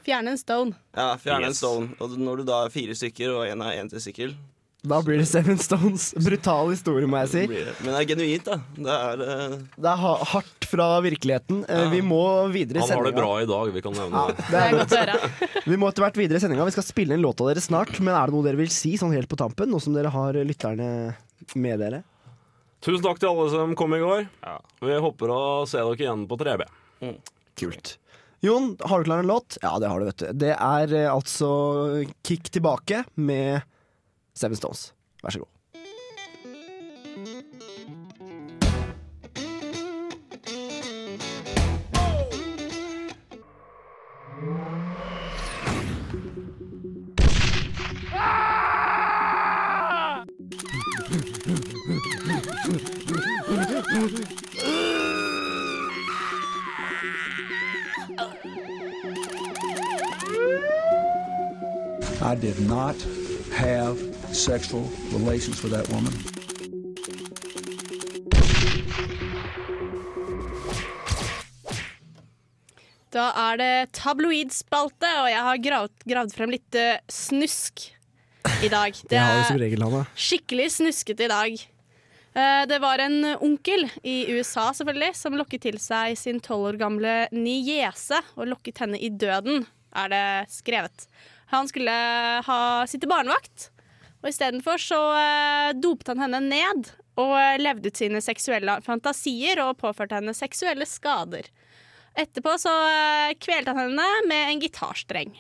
S3: Fjerne en stone.
S9: Ja, fjerne en
S8: Yes.
S9: stone. Og når du da er fire stykker, og én har én testikkel
S1: Da blir det Seven Stones. Brutal historie, må jeg si.
S9: Men det er genuint, da. Det er eh,
S1: Det er ha- hardt fra virkeligheten. Eh, Vi må videre i
S8: Han har det
S1: sendinga.
S8: bra i dag, vi kan nevne det.
S1: Det er
S3: Godt å høre.
S1: Vi må etter hvert videre i sendinga. Vi skal spille inn låta deres snart. Men er det noe dere vil si sånn helt på tampen, nå som dere har lytterne med dere?
S8: Tusen takk til alle som kom i går. Vi håper å se dere igjen på 3B.
S1: Kult. Jon, har du klar en låt? Ja, det har du, vet du. Det er eh, altså Kick tilbake med Seven Stones. Vær så god.
S10: I did not have sexual relations with that woman.
S3: Da er det tabloidspalte, og jeg har gravd, gravd frem litt eh, snusk i dag. Det er
S1: regel han,
S3: skikkelig snuskete i dag. Eh, Det var en onkel i USA selvfølgelig som lokket til seg sin tolv år gamle niese og lokket henne i døden, er det skrevet. Han skulle ha sitte barnevakt, Og istedenfor så eh, dopte han henne ned og eh, levde ut sine seksuelle fantasier og påførte henne seksuelle skader. Etterpå så eh, kvelte han henne med en gitarstreng.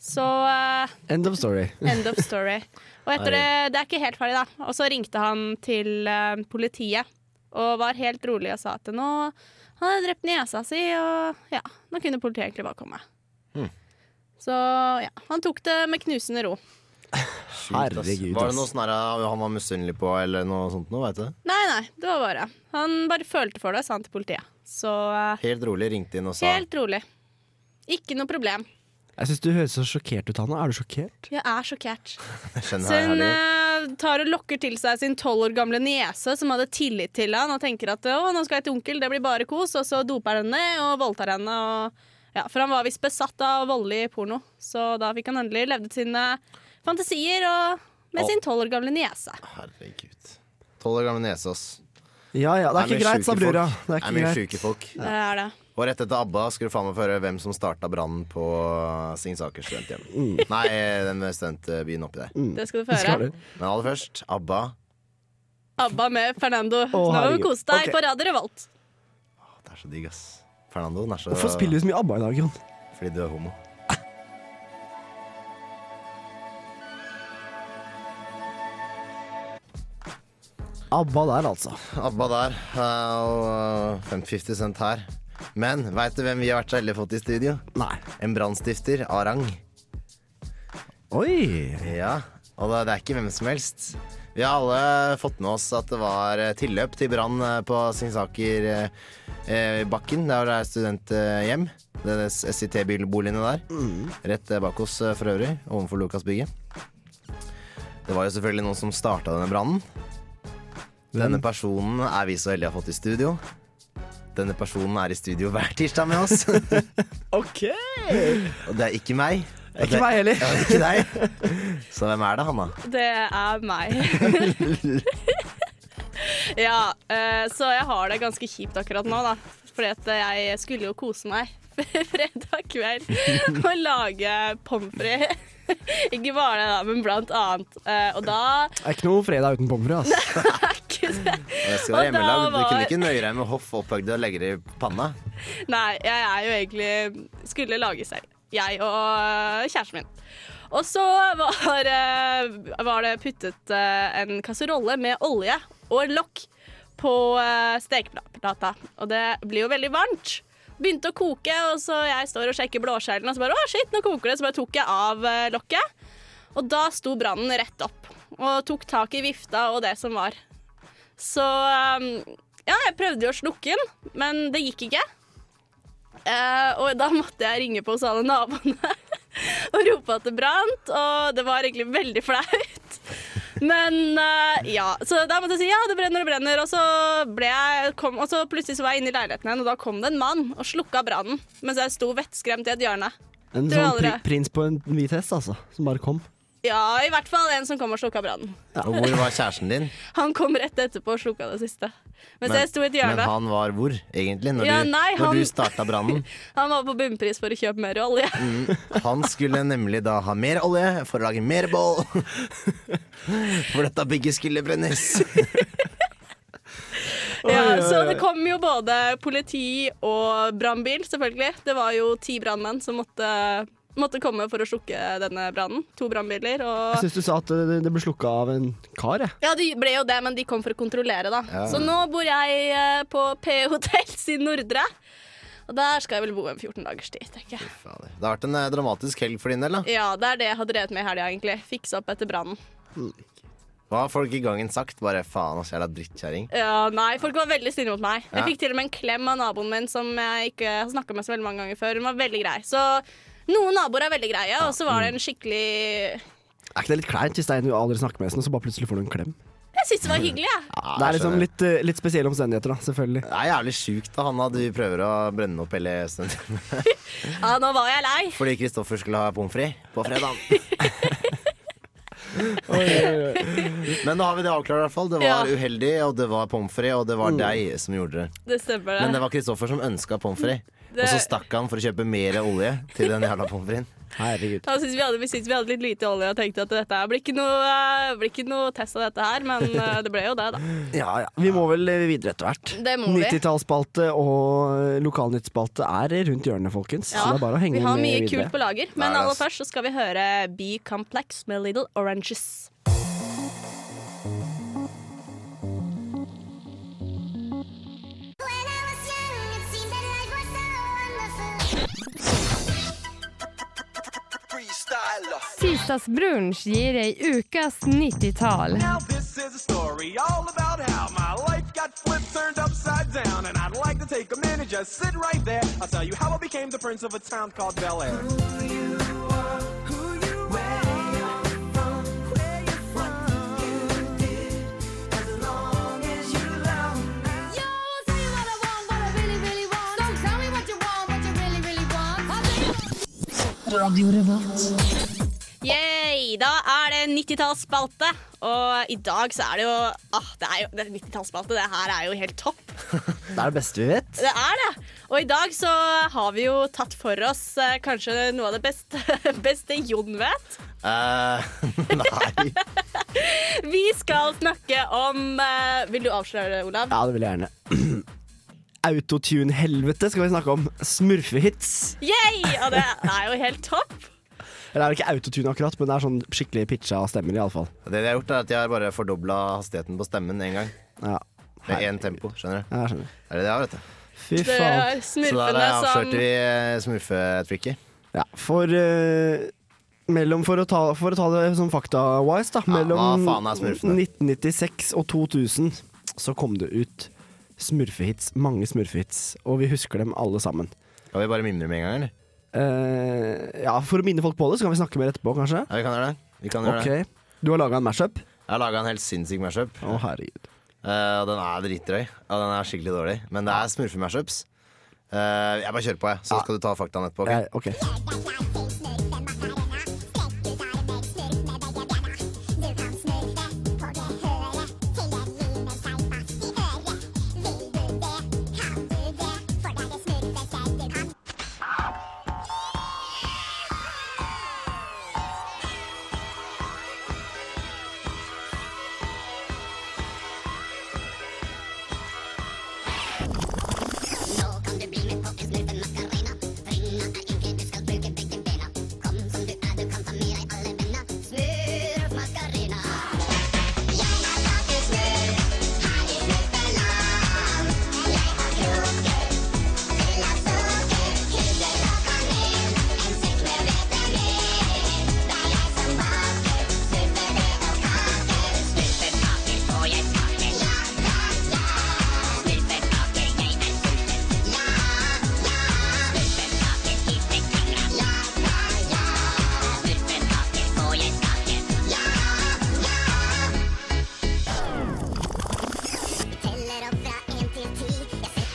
S3: Så eh,
S1: End of story.
S3: End of story. Og etter det, det er ikke helt farlig, da. Og så ringte han til eh, politiet og var helt rolig og sa at nå han hadde drept niesa si, og ja, nå kunne politiet egentlig bare komme. Så ja, han tok det med knusende ro.
S1: Herregud,
S4: Var det noe
S1: ass.
S4: sånn her, eh, han var misunnelig på, eller noe sånt noe, vet du?
S3: Nei, nei, det var bare Han bare følte for det, sa han til politiet. Så eh,
S4: Helt rolig ringte inn og sa
S3: helt rolig. Ikke noe problem.
S1: Jeg syns du høres så sjokkert ut, Hanna. Er du sjokkert?
S3: Jeg er sjokkert.
S4: Skjønner
S3: Så
S4: jeg,
S3: hun
S4: herregud.
S3: eh, tar og lokker til seg sin tolv år gamle niese, som hadde tillit til han, og tenker at å, nå skal jeg til onkel, det blir bare kos, og så doper han henne og voldtar henne. Og, ja, for han var visst besatt av voldelig porno, så da fikk han endelig levd ut sine fantasier og med sin tolv år gamle niese.
S4: Herregud. Tolv år gamle nese, ass.
S1: Ja ja, det er ikke
S4: mye
S1: greit, sa
S4: sjuke
S1: brura.
S4: folk.
S1: Det er ikke
S4: mye
S1: greit.
S4: sjuke folk.
S3: Det er det.
S4: Og rett etter ABBA skulle du faen meg få høre hvem som starta brannen på Singsaker studenthjem. Nei, den studentbyen oppi der.
S3: Det skal du få høre.
S4: Men aller først, ABBA.
S3: ABBA med Fernando. Så nå må
S1: herregud.
S3: du kose deg
S1: Ok.
S3: på Radio Revolt.
S4: Det er så digg, ass. Fernando, den er så
S1: Hvorfor spiller du så mye ABBA i dag, Jon?
S4: Fordi du er homo.
S1: ABBA der, altså.
S4: ABBA der, eh, og 50 Cent her. Men veit du hvem vi har vært så heldige å få i studio?
S1: Nei.
S4: En brannstifter av rang.
S1: Oi.
S4: Ja, og det, det er ikke hvem som helst. Vi har alle fått med oss at det var eh, tilløp til brann eh, på Singsaker eh, eh, bakken, der det er studenthjem. Det er SIT-boligene der.
S1: Mm.
S4: Rett eh, bak oss eh, for øvrig, overfor Lukasbygget. Det var jo selvfølgelig noen som starta denne brannen.
S1: Mm.
S4: Denne personen er vi så heldige å ha fått i studio. Denne personen er i studio hver tirsdag med oss.
S1: OK.
S4: Og det er ikke meg.
S1: er ikke meg heller.
S4: Ja, det er ikke deg. Så hvem er det, Hanna?
S3: Det er meg. ja, eh, så jeg har det ganske kjipt akkurat nå, da. Fordi at jeg skulle jo kose meg fredag kveld og lage pommes frites. Ikke bare det, da, men blant annet. Eh, Og da
S1: Det er ikke noe fredag uten pommes frites, ass.
S4: Det skal
S3: Og
S4: være hjemmelagd.
S3: da
S4: Du kunne
S3: var-
S4: ikke nøye deg med hoff opphøgd og legge det i panna.
S3: Nei, jeg er jo egentlig Skulle lage selv. Jeg og øh, kjæresten min. Og så var, øh, var det puttet øh, en kasserolle med olje og lokk på øh, stekeplata. Og det blir jo veldig varmt. Begynte å koke, og så jeg står og sjekker blåskjellen, og så bare å shit, nå koker det. Så bare tok jeg av øh, lokket, og da sto brannen rett opp. Og tok tak i vifta og det som var. Så øh, ja, jeg prøvde jo å slukke den, men det gikk ikke. Eh, og da måtte jeg ringe på hos alle naboene og rope at det brant, og det var egentlig veldig flaut. Men eh, ja, så da måtte jeg si ja, det brenner og brenner, og så, ble jeg, kom, og så plutselig så var jeg inne i leiligheten igjen, og da kom det en mann og slukka brannen mens jeg sto vettskremt i et hjørne.
S1: En
S3: Du
S1: sånn
S3: aldri-
S1: pri prins på en hvit hest, altså. Som bare kom.
S3: Ja, i hvert fall en som kom og slukka brannen.
S4: Og hvor var kjæresten din?
S3: Han kom rett etterpå og slukka det siste. Mens jeg sto i et
S4: men
S3: hjørne.
S4: han var hvor, egentlig? Når,
S3: Ja,
S4: du,
S3: nei,
S4: når
S3: han-
S4: du starta brannen. Mm.
S3: Han var på bunnpris for å kjøpe mer olje.
S4: Han skulle nemlig da ha mer olje for å lage mer bål. For dette bygget skulle brennes.
S3: Ja, så det kom jo både politi og brannbil, selvfølgelig. Det var jo ti brannmenn som måtte, måtte komme for å slukke denne brannen. To brannbiler og
S1: Jeg syns du sa at eh, det, det ble slukka av en kar, jeg.
S3: ja, det ble jo det, men de kom for å kontrollere, da. Så nå bor jeg eh, på P Hotels i Nordre. Og der skal jeg vel bo en 14 dagers tid, tenker jeg.
S4: Fader. Det har vært en eh, dramatisk helg for din del. da
S3: Ja, det er det jeg har drevet med i helga, egentlig. Fikse opp etter brannen.
S4: Hva har folk i gangen sagt? Bare faen, ass, jævla drittkjerring.
S3: Ja, nei, folk var veldig snille mot meg.
S4: Ja.
S3: Jeg fikk til og med en klem av naboen min som jeg ikke har snakka med så veldig mange ganger før. Hun var veldig grei. Så noen naboer er veldig greie, og så var det en skikkelig Jeg
S1: Er ikke det litt kleint hvis det er en du aldri snakker med, sånn, og så bare plutselig får du en klem?
S3: syns det var hyggelig, jeg.
S1: det er liksom litt, eh, litt spesielle omstendigheter, da. Selvfølgelig.
S4: Det er jævlig sjukt da, Hanna, at du prøver å brenne opp hele stunden
S3: Ja, nå var jeg lei.
S4: fordi Kristoffer skulle ha pommes frites på fredag. Men da har vi det avklart, i hvert fall. Det var
S3: Ja.
S1: Mm.
S4: uheldig, og det var pommes frites, og det var deg som gjorde det.
S3: Det stemmer,
S4: Men
S3: det.
S4: det var Kristoffer som ønska pommes frites. Og så stakk han for å kjøpe mer olje til den jævla pommes fritesen.
S1: Herregud.
S3: Da synes vi, hadde, vi synes vi hadde litt lite olje og tenkte at dette her blir ikke noe, eh, blir ikke noe test av dette her, men eh, det ble jo det, da.
S1: Ja, ja. Vi må vel eh, videre etter hvert.
S3: Det må vi.
S1: 90-tallsspalte og lokalnyttspalte er eh, rundt hjørnet, folkens.
S3: Ja,
S1: Så det er bare å henge
S3: vi har
S1: med
S3: mye
S1: videre.
S3: kult på lager,
S4: Det er
S3: men
S4: det,
S3: aller
S4: ass.
S3: først så skal vi høre B-Complex med Little Oranges.
S11: Tirsdagsbrunsj gir ei ukas 90-tall.
S5: Now this is a story all about how my life got flipped, turned upside down, and I'd like to take a minute, just sit right there. I'll tell you how I became the prince of a town called Bel Air.
S3: Yay! Da er det 90-tallsspalte, og i dag så er det jo ah, Det er jo det er 90-tallsspalte, det her er jo helt topp.
S4: Det er det beste vi vet.
S3: Det er det! Og i dag så har vi jo tatt for oss eh, kanskje noe av det beste, beste Jon vet.
S4: Eh, nei.
S3: Vi skal snakke om eh, Vil du avsløre det, Olav?
S1: Ja, det vil jeg gjerne. Autotune-helvete skal vi snakke om. Smurfehits.
S3: Yay! Og det er jo helt topp.
S1: Eller det er ikke autotune akkurat, men det er sånn skikkelig pitcha stemmer, iallfall.
S4: Det de har gjort, er at de har bare fordobla hastigheten på stemmen én gang.
S1: Ja.
S4: Med én tempo, skjønner du.
S1: Ja, jeg skjønner.
S4: Det er det de har, vet du.
S1: Fy
S3: Det
S1: faen.
S3: er
S4: Så der
S3: smurfene som
S4: avslørte vi eh, smurfetrikket.
S1: Ja, for eh, mellom, for, å ta, for å ta det som fakta-wise, da. Mellom
S4: hva faen er smurfene?
S1: 1996 og 2000 så kom det ut smurfehits. Mange smurfehits. Og vi husker dem alle sammen.
S4: Kan vi bare mimre med en gang, eller?
S1: Eh, ja, for å minne folk på det, så kan vi snakke mer etterpå, kanskje.
S4: Ja, vi kan gjøre det. Vi kan gjøre
S1: Ok,
S4: det.
S1: Du har laga en mashup?
S4: Jeg har laga en helt sinnssyk mashup.
S1: Å, herregud.
S4: Eh, og den er dritdrøy. Og den er skikkelig dårlig. Men det er smurfe-mashups. Eh, jeg bare kjører på, jeg. Så skal du ta faktaen etterpå. ok?
S1: Eh, ok.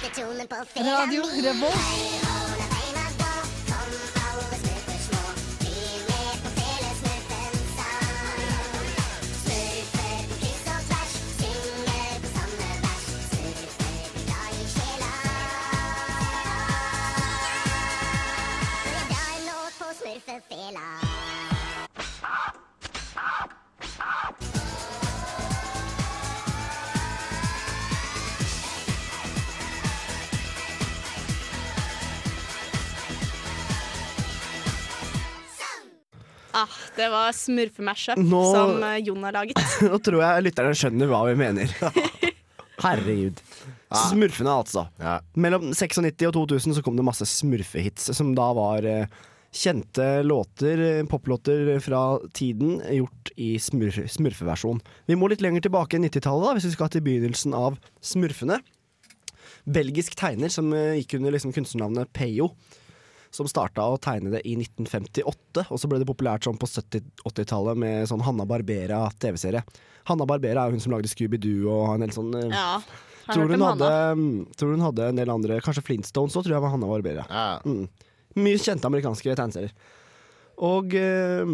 S11: Radio Revolt.
S3: Ah, det var smurfemashup
S1: Nå-
S3: som eh, Jon har laget.
S1: Nå tror jeg lytterne skjønner hva vi mener. Herregud. Smurfene, altså.
S4: Ja.
S1: Mellom 96 og 2000 så kom det masse smurfehits, som da var eh, kjente låter, eh, poplåter fra tiden, gjort i smurf smurfeversjon. Vi må litt lenger tilbake enn 90-tallet, da, hvis vi skal til begynnelsen av smurfene. Belgisk tegner som eh, gikk under liksom kunstnernavnet Peyo. Som starta å tegne det i 1958, og så ble det populært sånn på 70-80-tallet med sånn Hanna Barbera-TV-serie. Hanna Barbera er jo hun som lagde Scooby-Doo og en del sånn eh,
S3: Ja, har
S1: Tror
S3: hørt
S1: hun,
S3: om
S1: hadde,
S3: Hanna.
S1: mm, tror hun hadde en del andre Kanskje Flintstones òg, tror jeg var Hanna Barbera.
S4: Ja.
S1: Mye kjente amerikanske tegneserier. Og eh,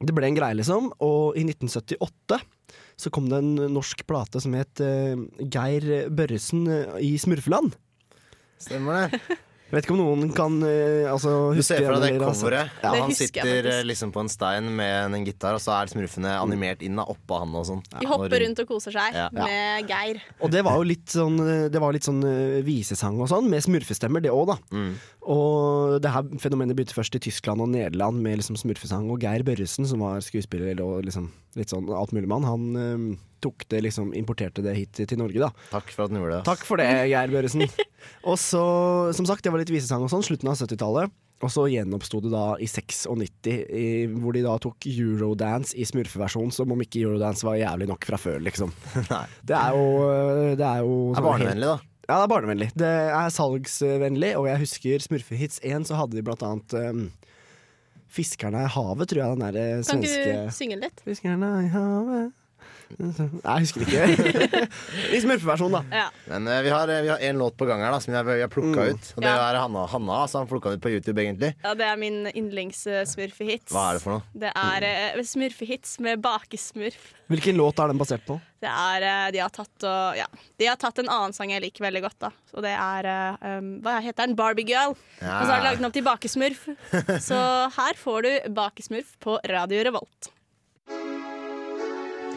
S1: det ble en greie, liksom. Og i 1978 så kom det en norsk plate som het eh, Geir Børresen i eh, Smurfeland.
S4: Stemmer det.
S1: Jeg vet ikke om noen kan eh, altså,
S4: Du ser
S1: huske
S4: for deg
S1: den,
S4: det
S1: altså.
S4: coveret.
S1: Ja.
S4: Han sitter eh, liksom på en stein med en gitar, og så er smurfene animert inn av oppå han og sånn.
S3: De hopper rundt og koser seg
S4: Ja.
S3: med Geir.
S1: Og det var jo litt sånn, eh, det var litt sånn eh, visesang og sånn, med smurfestemmer, det òg, da. Og det her fenomenet begynte først i Tyskland og Nederland med liksom smurfesang. Og Geir Børresen, som var skuespiller og liksom, litt sånn altmuligmann, han eh, tok det liksom, importerte det hit til Norge, da.
S4: Takk for at den gjorde det.
S1: Takk for det, Geir Børresen. og så, som sagt, det var litt visesang og sånn, slutten av 70-tallet. Og så gjenoppsto det da i 96, i, hvor de da tok eurodance i smurfeversjon, som om ikke eurodance var jævlig nok fra før, liksom. Det er jo Det er, jo
S4: Det er
S1: sånn helt-
S4: barnevennlig, da.
S1: Ja, det er barnevennlig. Det er salgsvennlig, og jeg husker Smurfehits 1, så hadde de blant annet um, Fiskerne i havet, tror jeg den der eh,
S3: Kan
S1: svenske
S3: ikke du synge litt?
S1: Fiskerne i havet Nei, jeg husker ikke. I smurfeversjonen, da.
S3: Ja.
S4: Men eh, vi har, eh, vi har en låt på gang her da, som vi har, vi har plukka ut. Og det
S3: Ja.
S4: er Hanna. Hanna altså, han plukka ut på YouTube, egentlig.
S3: Ja, det er min yndlings-smurfehits.
S4: Hva er det for noe?
S3: Det er eh, smurfehits med bakesmurf.
S1: Hvilken låt er den basert på?
S3: Det er, eh, de, har tatt og, ja. de har tatt en annen sang jeg liker veldig godt, da. Og det er eh, um, Hva heter den? Barbie Girl.
S4: Ja.
S3: Og så har de lagd den om til bakesmurf. Så her får du bakesmurf på Radio Revolt.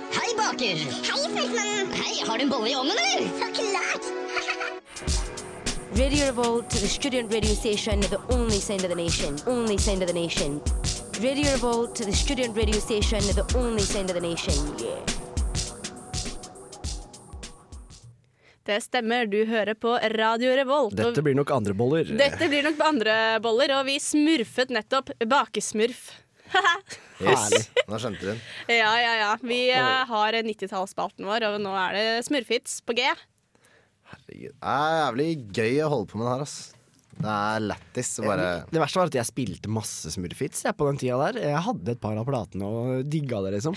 S7: Hei, baker. Hei, Feltmannen. Hei, har du en bolle i ovnen, eller? Så klart.
S9: Radio Revolt, the student radio station, the only sound of the nation, only sound of the nation. Radio Revolt, the student radio station, the only sound of the nation. Yeah.
S3: Det stemmer, du hører på Radio Revolt. og-
S1: Dette blir nok andre boller.
S3: Dette blir nok på andre boller, og vi smurfet nettopp bakesmurf.
S4: Yes. Nå skjønte du den.
S3: Ja, ja, ja. Vi eh, har 90-tallsspalten vår, og nå er det smurfhits på G.
S4: Det er jævlig gøy å holde på med den her, ass. Det er lættis å bare
S1: Det verste var at jeg spilte masse smurfits jeg, på den tida der. Jeg hadde et par av platene og digga det, liksom.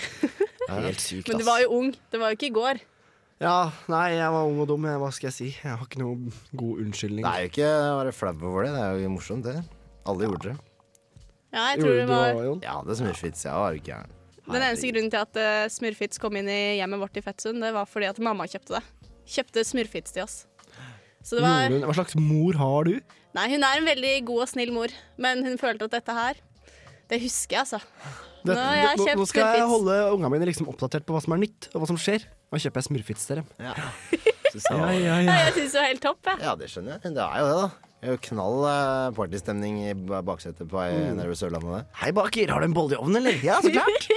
S1: Helt sykt,
S3: Men du
S1: ass.
S3: var jo ung. Det var jo ikke i går.
S1: Ja, nei, jeg var ung og dum. Hva skal jeg si? Jeg har ikke noe god unnskyldning.
S4: Nei, ikke være flau over det. Det er jo morsomt, det. Alle gjorde det.
S3: Ja, jeg tror det var
S4: Ja, det er smurfits. Jeg var jo gæren.
S3: Den eneste grunnen til at eh, smurfhits kom inn i hjemmet vårt i Fettsund, det var fordi at mamma kjøpte det. Kjøpte smurfhits til oss. Så det var
S1: Gjorde hun- Hva slags mor har du?
S3: Nei, hun er en veldig god og snill mor, men hun følte at dette her Det husker jeg, altså. Nå har jeg
S1: nå, nå
S3: kjøpt
S1: skal jeg
S3: smurfhits.
S1: holde unga mine liksom oppdatert på hva som er nytt, og hva som skjer. Nå kjøper jeg smurfits til dem.
S4: Ja.
S1: Ja, ja,
S3: Ja, jeg syns det var helt topp, jeg.
S4: Ja, det skjønner jeg. Det er jo det, da. Det er jo knall eh, partystemning i ba- baksetet på ei
S1: Mm.
S4: nervøs Sørlandet.
S1: Hei, baker, har du en bolle i ovnen, eller? Ja, så klart.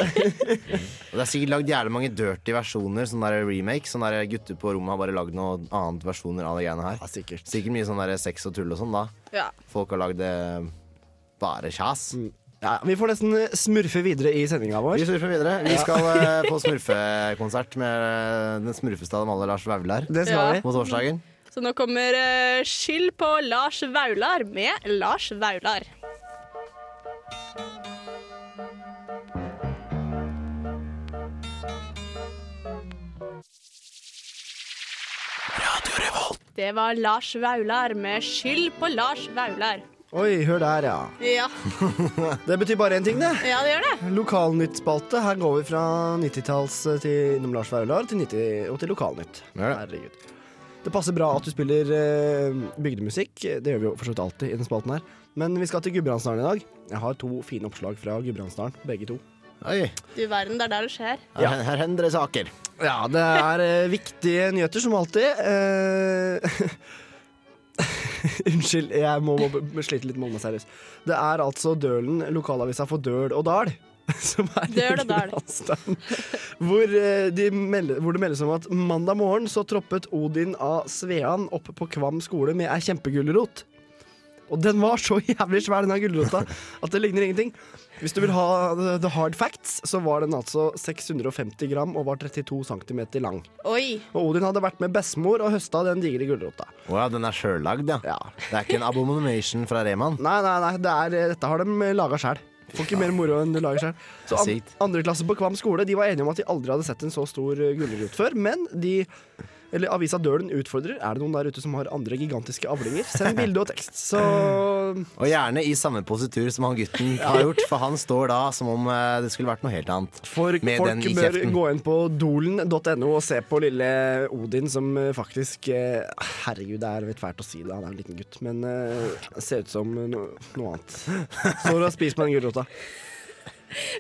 S4: Og det er sikkert lagd jævlig mange dirty versjoner, sånn der remake. Sånn der gutter på rommet har bare lagd noe annet versjoner av de greiene her.
S1: sikkert.
S4: mye sånn der sex og tull og sånn, da.
S3: Ja.
S4: Folk har lagd eh, bare kjas.
S1: Mm. Ja, vi får nesten eh, smurfe videre i sendinga vår.
S4: Vi surfer videre.
S1: Ja.
S4: Vi skal eh, på smurfekonsert med eh, den smurfeste av dem alle, Lars Vaular.
S1: Det
S3: skal Ja. vi.
S4: På torsdagen.
S3: Så nå kommer eh, Skyld på Lars Vaular med Lars Vaular. Det var Lars Vaular med Skyld på Lars Vaular.
S1: Oi, hør der, ja.
S3: Ja,
S1: Det betyr bare én ting, det.
S3: ja det gjør det.
S1: Lokalnyttspalte. Her går vi fra 90-talls til innom Lars Vaular til 90 og til lokalnytt. Herregud. Det passer bra at du spiller eh, bygdemusikk. Det gjør vi jo for så vidt alltid i den spalten her. Men vi skal til Gudbrandsdalen i dag. Jeg har to fine oppslag fra Gudbrandsdalen, begge to.
S4: Oi.
S3: Du verden, det er der det skjer.
S1: Ja.
S4: Her, her hender det saker.
S1: Ja, det er eh, viktige nyheter som alltid. Eh, Unnskyld, jeg må, må, må slite litt med å holde meg seriøs. Det er altså Dølen, lokalavisa for Døl og Dal. Som er i
S3: Døl og Dal.
S1: Gudbrandsdalen, Hvor, eh, de melder, hvor det meldes om at mandag morgen så troppet Odin A. Svean opp på Kvam skole med ei kjempegulrot. Og den var så jævlig svær, denne gulrota, at det ligner ingenting. Hvis du vil ha the- the hard facts, så var den altså 650 gram og var 32 cm lang.
S3: Oi.
S1: Og Odin hadde vært med bestemor og høsta den digre gulrota.
S4: Å ja, den er sjøllagd, ja. Det er ikke en abomination fra Reman.
S1: Nei, nei, nei, det er, dette har de laga sjæl. Får ikke mer moro enn du lager sjæl. Så an,
S4: Sykt.
S1: andre klasse på Kvam skole de var enige om at de aldri hadde sett en så stor eh, gulrot før, men de Eller avisa Dølen utfordrer. Er det noen der ute som har andre gigantiske avlinger? Send bilde og tekst, så
S4: Og gjerne i samme positur som han gutten har gjort, for han står da som om eh, det skulle vært noe helt annet. Med den
S1: Folk
S4: i
S1: bør
S4: kjeften.
S1: gå inn på dolen.no og se på lille Odin, som eh, faktisk eh, Herregud, det er litt fælt å si det, han er en liten gutt, men eh, ser ut som no, noe annet. Står og spiser på den gulrota.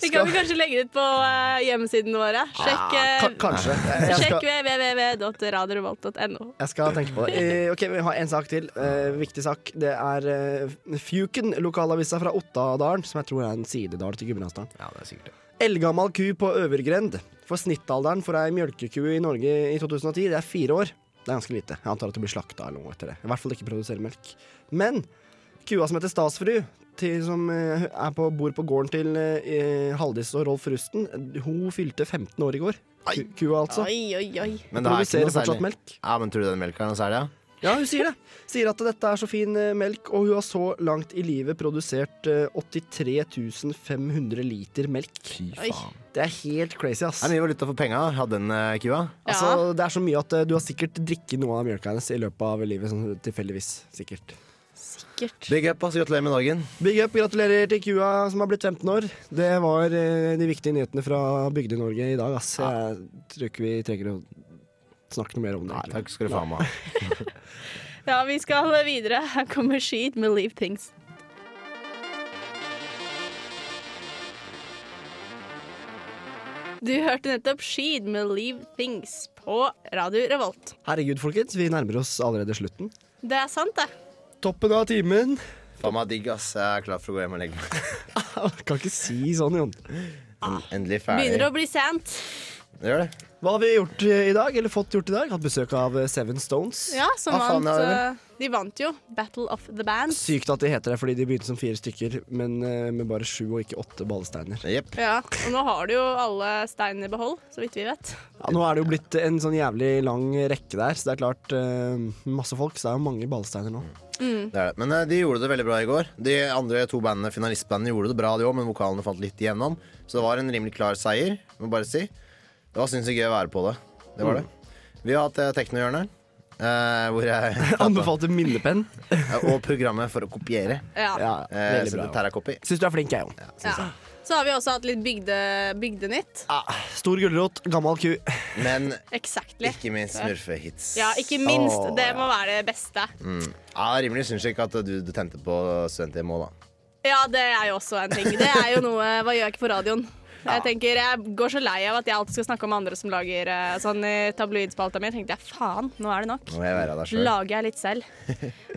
S3: Vi kan vel kanskje legge det ut på eh, hjemmesidene våre. Sjekk, eh,
S1: Ah, ka- kanskje. Jeg skal-
S3: sjekk www.radiorevolt.no.
S1: Jeg skal tenke på det. Eh, ok, Vi har en sak til. Eh, viktig sak. Det er eh, Fjuken, lokalavisa fra Ottadalen, som jeg tror er en sidedal til Gudbrandsdalen.
S4: Ja, det er sikkert det.
S1: Eldgammel ku på øvergrend. For snittalderen for ei mjølkeku i Norge i 2010, det er fire år. Det er ganske lite. Jeg antar at det blir slakta eller noe etter det. I hvert fall ikke produsere melk. Men kua som heter Stasfru, til, som eh, er på, bor på gården til eh, Haldis og Rolf Rusten, hun fylte 15 år i går. Ku, kua, altså.
S3: Oi, oi, oi.
S4: Men det er ikke
S1: Produserer
S4: noe
S1: fortsatt
S4: særlig.
S1: melk.
S4: Ja, men tror du den melka er noe særlig? Ja?
S1: Ja, hun sier det. Sier at dette er så fin eh, melk, og hun har så langt i livet produsert eh, 83 500 liter melk. Fy
S4: faen.
S1: Det er helt crazy, ass.
S4: Det er mye valuta for penga, hadde den eh, kua.
S1: Altså, det er så mye at eh, du har sikkert drikket noe av mjølka hennes i løpet av livet, sånn tilfeldigvis. Sikkert.
S4: Big up, ass. Gratulerer med dagen.
S1: Big up, gratulerer til kua som har blitt 15 år. Det var eh, de viktige nyhetene fra Bygde-Norge i dag, ass. Jeg tror ikke vi trenger å snakke noe mer om det. Nei,
S4: takk skal du faen meg ha.
S3: Ja, vi skal videre. Her kommer Sheet med Leave Things. Du hørte nettopp Sheed med Leave Things på Radio Revolt.
S1: Herregud, folkens, vi nærmer oss allerede slutten.
S3: Det er sant, det.
S1: Toppen av timen.
S4: Faen meg digg, ass. Jeg er klar for å gå hjem og legge meg.
S1: Kan ikke si sånn, Jon.
S4: En- Endelig ferdig.
S3: Begynner å bli sent.
S4: Det gjør det.
S1: Hva har vi gjort eh, i dag, eller fått gjort i dag? Hatt besøk av eh, Seven Stones.
S3: Ja, som
S1: Ah, faen,
S3: vant.
S1: ja, ja.
S3: eh, De vant jo Battle of the Bands.
S1: Sykt at de heter det fordi de begynte som fire stykker, men eh, med bare sju og ikke åtte ballesteiner.
S3: Ja, og nå har du jo alle steinene i behold, så vidt vi vet.
S1: Ja, nå er det jo blitt en sånn jævlig lang rekke der, så det er klart eh, Masse folk, så det er jo mange ballesteiner nå.
S4: Det er det. Men eh, de gjorde det veldig bra i går. De andre to bandene, finalistbandene gjorde det bra, de òg, men vokalene fant litt igjennom. Så det var en rimelig klar seier, må jeg bare si. Det var sinnssykt gøy å være på det. Det var det.
S1: Mm.
S4: Vi har hatt eh, Teknohjørnet. eh, hvor jeg
S1: Anbefalte minnepenn.
S4: og programmet for å kopiere.
S3: Ja.
S1: Ja,
S4: Eh,
S1: veldig
S4: så
S1: bra.
S4: det Terrakopi.
S1: Syns du er flink, jeg òg.
S3: Ja. Så har vi også hatt litt bygde, bygdenytt.
S1: Stor gulrot, gammal ku.
S4: Men
S3: Exactly.
S4: ikke minst smurfehits.
S3: Ja, ikke minst.
S4: Åh,
S3: det
S4: ja.
S3: må være det beste.
S4: Mm. Ja, rimelig syns jeg ikke at du, du tente på student-EMO, da.
S3: Ja, det er jo også en ting. Det er jo noe Hva gjør jeg ikke på radioen? Jeg tenker, jeg går så lei av at jeg alltid skal snakke om andre som lager eh, sånn i tabloidspalta mi. Jeg tenkte jeg, faen, nå er det nok.
S4: Nå må jeg være der selv.
S3: Lager jeg litt selv.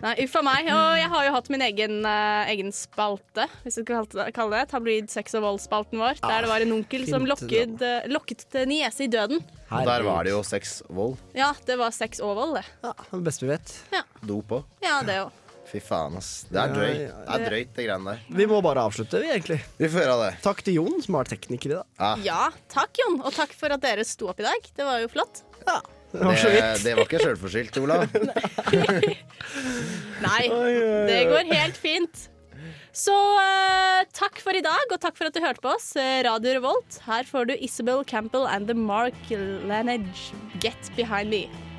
S3: Nei, uff a meg. Og jeg har jo hatt min egen, eh, egen spalte, hvis vi skal kalle det- kalle det. Tabloid sex og vold-spalten vår. Der Ah, det var en onkel som
S4: fint
S3: lokket, eh, lokket en niese i døden.
S4: Og der var det jo sex, vold,
S3: Ja, det var sex og vold, det.
S1: Det beste vi vet.
S4: dop òg.
S3: Ja, det òg.
S4: Fy faen, ass. Det
S1: Ja,
S4: er drøyt,
S1: ja,
S4: det, er drøyt, det greiene der.
S1: Vi må bare avslutte, vi, egentlig.
S4: Vi får gjøre det.
S1: Takk til Jon, som var tekniker i dag.
S3: Ja, takk, Jon. Og takk for at dere sto opp i dag. Det var jo flott.
S1: Det var så
S4: Det,
S1: vidt.
S4: det var ikke sjølforskyldt, Olav.
S3: Nei,
S4: oi,
S3: det
S4: oi.
S3: går helt fint. Så eh, takk for i dag, og takk for at du hørte på oss. Eh, Radio Revolt. Her får du Isabel Campbell and The Mark Lanage, Get Behind Me.